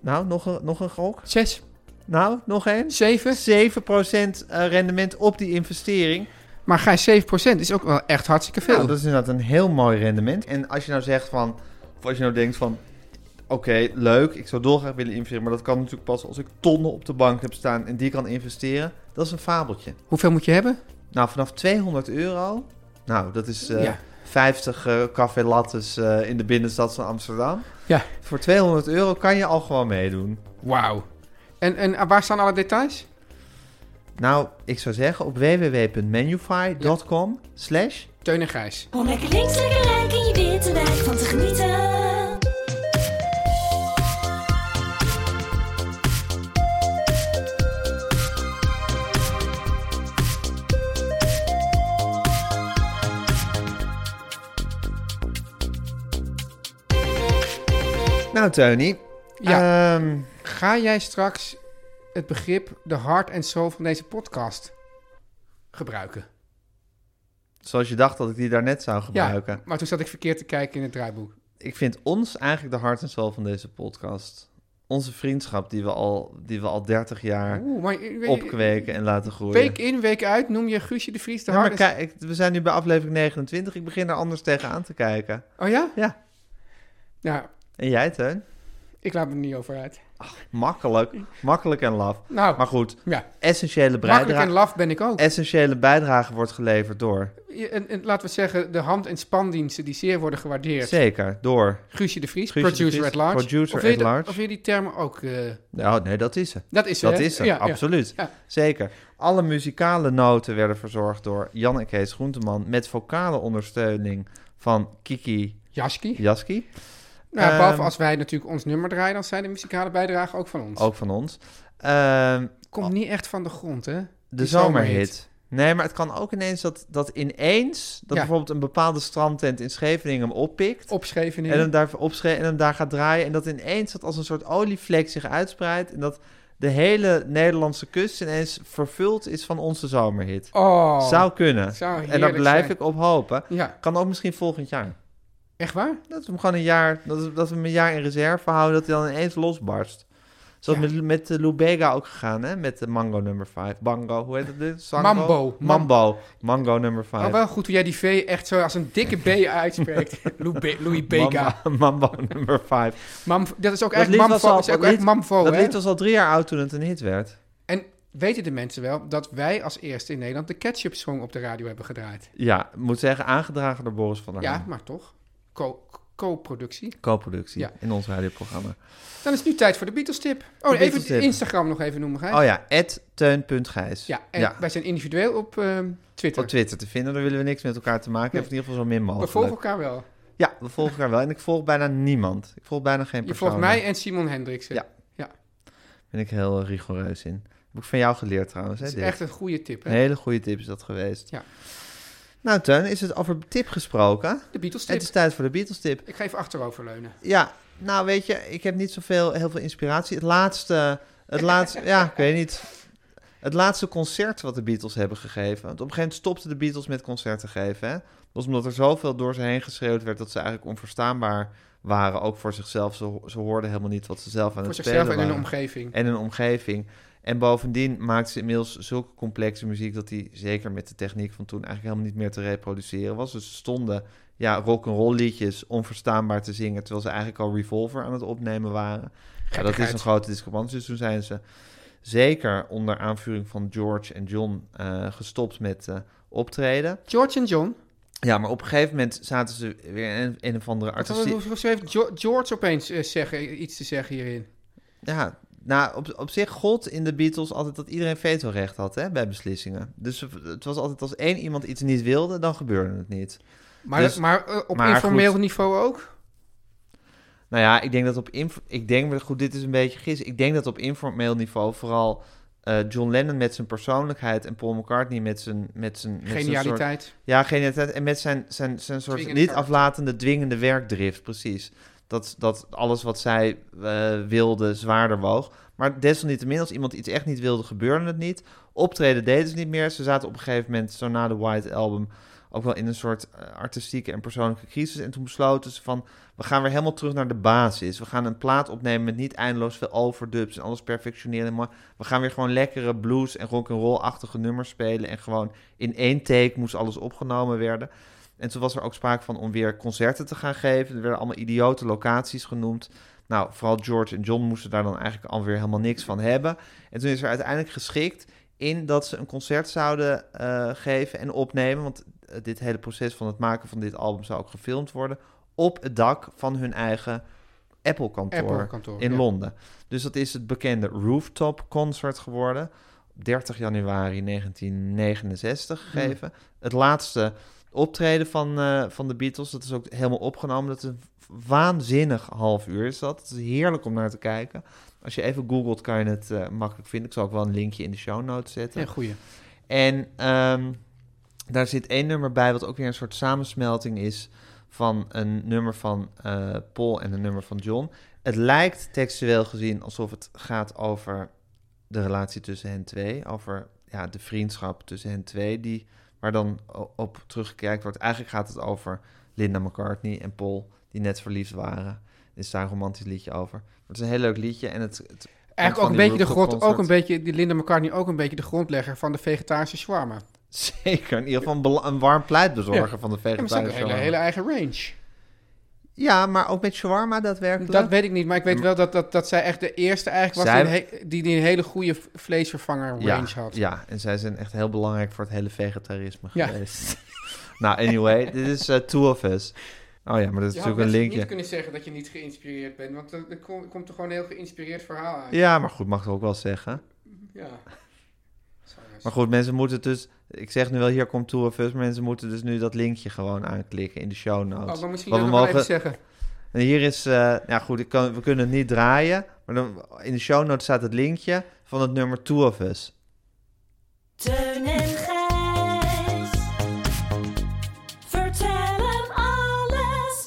S1: Nou, nog een, nog een gok.
S2: 6?
S1: Nou, nog eens.
S2: 7?
S1: 7% eh, rendement op die investering.
S2: Maar Gijs, 7% is ook wel echt hartstikke veel.
S1: Nou, dat is inderdaad een heel mooi rendement. En als je nou zegt van, of als je nou denkt van, oké, leuk, ik zou dolgraag willen investeren, maar dat kan natuurlijk pas als ik tonnen op de bank heb staan en die kan investeren. Dat is een fabeltje.
S2: Hoeveel moet je hebben?
S1: Nou, vanaf 200 euro, nou, dat is eh,
S2: Ja.
S1: 50 eh, café lattes eh, in de binnenstad van Amsterdam.
S2: Ja.
S1: Voor 200 euro kan je al gewoon meedoen.
S2: Wauw. En, en eh, waar staan alle details?
S1: Nou, ik zou zeggen op www.menufy.com slash...
S2: Teun en Gijs.
S5: Om lekker links, lekker rechts in je witte wijk van te genieten.
S1: Nou, Tony.
S2: Ja.
S1: ehm,
S2: Ga jij straks het begrip de hart en soul van deze podcast gebruiken?
S1: zoals je dacht dat ik die daarnet zou gebruiken.
S2: Ja, maar toen zat ik verkeerd te kijken in het draaiboek.
S1: Ik vind ons eigenlijk de hart en ziel van deze podcast. Onze vriendschap die we al, die we al 30 jaar
S2: Oeh, maar je- je-
S1: opkweken en laten groeien.
S2: Week in, week uit noem je Guusje de Vries de
S1: Ja, maar
S2: hart. en-
S1: kijk, ik- we zijn nu bij aflevering 29. Ik begin er anders tegenaan te kijken.
S2: Oh ja?
S1: Ja.
S2: Ja,
S1: En jij, Teun?
S2: ik laat me er niet over uit.
S1: Makkelijk. Makkelijk en laf.
S2: Nou,
S1: Maar goed,
S2: ja.
S1: essentiële
S2: Makkelijk en
S1: bijdrage,
S2: laf ben ik ook.
S1: essentiële bijdrage wordt geleverd door.
S2: Je- En, en laten we zeggen, de hand- en spandiensten die zeer worden gewaardeerd.
S1: Zeker, door.
S2: Guusje de Vries,
S1: Guusje de
S2: producer
S1: Vries,
S2: at large.
S1: producer
S2: of wil je
S1: at
S2: de-
S1: large.
S2: Of wil je die termen ook... eh,
S1: Nou, nee, dat is ze.
S2: dat is ze,
S1: Dat
S2: hè?
S1: is er,
S2: Ja, ja.
S1: absoluut.
S2: Ja.
S1: Zeker. Alle muzikale noten werden verzorgd door Jan en Kees Groenteman... met vocale ondersteuning van Kiki
S2: Jaski.
S1: Jaski,
S2: Nou, ja, behalve
S1: Ehm,
S2: als wij natuurlijk ons nummer draaien, dan zijn de muzikale bijdragen ook van ons.
S1: ook van ons. Ehm,
S2: Komt niet echt van de grond, hè?
S1: de
S2: Die
S1: zomerhit. Nee, maar het kan ook ineens dat, dat ineens... dat
S2: Ja.
S1: bijvoorbeeld een bepaalde strandtent in Scheveningen hem oppikt...
S2: Opschreven in.
S1: en hem daar opschreef en hem daar gaat draaien... en dat ineens dat als een soort olievlek zich uitspreidt... en dat de hele Nederlandse kust ineens vervuld is van onze zomerhit.
S2: Oh,
S1: Zou kunnen.
S2: zou
S1: en daar
S2: heerlijk
S1: blijf
S2: zijn.
S1: ik op hopen.
S2: ja.
S1: Kan ook misschien volgend jaar.
S2: Echt waar?
S1: Dat we hem gewoon een jaar, dat we, dat we hem een jaar in reserve houden, dat hij dan ineens losbarst. Zoals
S2: Ja.
S1: met, met de Lubega ook gegaan, hè? Met de Mango nummer 5. Bango, hoe heet dat? dit? Sango?
S2: Mambo.
S1: Mambo. Mango nummer 5.
S2: Oh, wel goed hoe jij die V echt zo als een dikke
S1: [laughs]
S2: B uitspreekt. Lou Be- Louis Bega.
S1: Mambo [laughs] nummer 5.
S2: Mam, dat is ook
S1: Dat
S2: echt
S1: lied was
S2: Mamvo.
S1: al-
S2: Dat is ook
S1: dat
S2: echt
S1: lied-
S2: Mamvo,
S1: dat
S2: Oh, hè?
S1: lied was al drie jaar oud toen het een hit werd.
S2: En weten de mensen wel dat wij als eerste in Nederland de ketchup song op de radio hebben gedraaid?
S1: Ja, moet zeggen, aangedragen door Boris van der
S2: Ja,
S1: Haan.
S2: maar toch. Co- Co-productie.
S1: Co-productie
S2: Ja.
S1: in ons radioprogramma.
S2: Dan is het nu tijd voor de Beatles tip. Oh,
S1: De
S2: even
S1: Beatles tip.
S2: Instagram nog even noemen, Gijs.
S1: Oh ja, teun.gijs.
S2: Ja, en wij zijn individueel op ehm, Twitter.
S1: Op Oh, Twitter te vinden, daar willen we niks met elkaar te maken. Of in ieder geval zo min
S2: We
S1: mogelijk.
S2: volgen elkaar wel.
S1: Ja, we volgen elkaar wel. En ik volg bijna niemand. Ik volg bijna geen
S2: Je
S1: persoon.
S2: volgt mij en Simon Hendriksen.
S1: Ja.
S2: ja.
S1: Daar ben ik heel eh, rigoureus in. Heb ik van jou geleerd trouwens. Hè,
S2: Dat is
S1: Dirk?
S2: echt een goede tip, hè?
S1: Een hele goede tip is dat geweest.
S2: Ja.
S1: Nou, Teun, is het over tip gesproken?
S2: De Beatles tip.
S1: Het is tijd voor de Beatles tip.
S2: Ik ga even achteroverleunen.
S1: Ja, nou weet je, ik heb niet zoveel heel veel inspiratie. Het laatste, het laatste, ja, ik weet niet. Het laatste concert wat de Beatles hebben gegeven. Want op een gegeven moment stopten de Beatles met concerten geven. Hè? Dat was omdat er zoveel door ze heen geschreeuwd werd dat ze eigenlijk onverstaanbaar waren. Ook voor zichzelf. Ze, ho- ze hoorden helemaal niet wat ze zelf aan het
S2: Voor zichzelf
S1: spelen
S2: en hun
S1: waren.
S2: omgeving.
S1: en hun omgeving. En bovendien maakten ze inmiddels zulke complexe muziek dat die zeker met de techniek van toen eigenlijk helemaal niet meer te reproduceren was. Dus ze stonden ja, rock'n'roll liedjes onverstaanbaar te zingen, terwijl ze eigenlijk al Revolver aan het opnemen waren. Ja, dat is
S2: Gekkigheid.
S1: een grote discrepantie. Dus toen zijn ze zeker onder aanvuring van George en John eh, gestopt met eh, optreden.
S2: George en John.
S1: Ja, maar op een gegeven moment zaten ze weer in een of andere
S2: Wat-
S1: artistiek...
S2: Hoe hoe heeft Jo- George opeens eh, zeggen, iets te zeggen hierin?
S1: Ja, nou, op, op zich gold in de Beatles altijd dat iedereen vetorecht had hè, bij beslissingen. Dus het was altijd als één iemand iets niet wilde, dan gebeurde het niet.
S2: Maar,
S1: Dus-
S2: maar eh, op
S1: maar
S2: informeel
S1: goed.
S2: niveau ook?
S1: Nou ja, ik denk dat op... inf- Ik denk, maar goed, dit is een beetje gis. Ik denk dat op informeel niveau vooral eh, John Lennon met zijn persoonlijkheid... en Paul McCartney met zijn... Met zijn met zijn soort-
S2: Genialiteit.
S1: Ja, genialiteit. En met zijn, zijn, zijn soort
S2: Dwingende
S1: niet
S2: karakter.
S1: aflatende, dwingende werkdrift, precies. Dat, dat alles wat zij eh, wilde zwaarder woog. Maar desalniettemin, als iemand iets echt niet wilde, gebeurde het niet. Optreden deden ze niet meer. Ze zaten op een gegeven moment, zo na de White Album, ook wel in een soort eh, artistieke en persoonlijke crisis. En toen besloten ze van, we gaan weer helemaal terug naar de basis. We gaan een plaat opnemen met niet eindeloos veel overdubs en alles perfectioneren. en mooi. We gaan weer gewoon lekkere blues en rock'n'roll-achtige nummers spelen. En gewoon in één take moest alles opgenomen werden. En toen was er ook sprake van om weer concerten te gaan geven. Er werden allemaal idiote locaties genoemd. Nou, vooral George en John moesten daar dan eigenlijk alweer helemaal niks van hebben. En toen is er uiteindelijk geschikt in dat ze een concert zouden eh, geven en opnemen. Want eh, dit hele proces van het maken van dit album zou ook gefilmd worden. Op het dak van hun eigen Apple-kantoor
S2: Apple-kantoor,
S1: in
S2: ja.
S1: Londen. Dus dat is het bekende Rooftop Concert geworden. Op 30 januari 1969 gegeven. Het laatste optreden van, eh, van de Beatles. Dat is ook helemaal opgenomen. Dat is een waanzinnig half uur is dat. Het is heerlijk om naar te kijken. Als je even googelt kan je het eh, makkelijk vinden. Ik zal ook wel een linkje in de show notes zetten.
S2: Ja, goeie.
S1: En ehm, daar zit één nummer bij wat ook weer een soort samensmelting is van een nummer van eh, Paul en een nummer van John. Het lijkt textueel gezien alsof het gaat over de relatie tussen hen twee, over ja, de vriendschap tussen hen twee, die, waar dan o- op teruggekijkt wordt. Eigenlijk gaat het over Linda McCartney en Paul, die net verliefd waren. Er is daar een romantisch liedje over. Het is een heel leuk liedje en het... het komt van
S2: Eigenlijk ook een
S1: die
S2: beetje de
S1: Rooftop
S2: grond, ook
S1: Concert.
S2: een beetje, die Linda McCartney ook een beetje de grondlegger van de vegetarische shawarma.
S1: Zeker, in ieder geval een, bela- een warm pleitbezorger
S2: Ja.
S1: van de
S2: Ja, maar ze hebben
S1: vegetarische
S2: een hele,
S1: shawarma.
S2: hele eigen range.
S1: Ja, maar ook met shawarma daadwerkelijk.
S2: Dat weet ik niet, maar ik weet wel dat, dat, dat zij echt de eerste eigenlijk was
S1: Zij-
S2: die, een he- die, die een hele goede v- vleesvervanger range
S1: ja,
S2: had.
S1: Ja, en zij zijn echt heel belangrijk voor het hele vegetarisme
S2: Ja.
S1: geweest. [laughs] nou, anyway, dit is eh, Two of Us. Oh ja, maar dat is
S2: Je had
S1: natuurlijk een
S2: net
S1: linkje.
S2: niet kunnen zeggen dat je niet geïnspireerd bent, want er, er kom- komt, er gewoon een heel geïnspireerd verhaal uit.
S1: Ja, maar goed, mag ik ook wel zeggen.
S2: Ja. Sorry.
S1: Maar goed, mensen moeten dus... Ik zeg nu wel, hier komt Two of Us. Maar mensen moeten dus nu dat linkje gewoon aanklikken in de show notes.
S2: Oh, maar misschien
S1: Want
S2: wil
S1: we
S2: ik nog wel
S1: mogen-
S2: even zeggen.
S1: En hier is, eh ja goed, ik kan, we kunnen het niet draaien. Maar dan, in de show notes staat het linkje van het nummer Two of Us.
S5: Teun en Gijs. Vertel hem alles.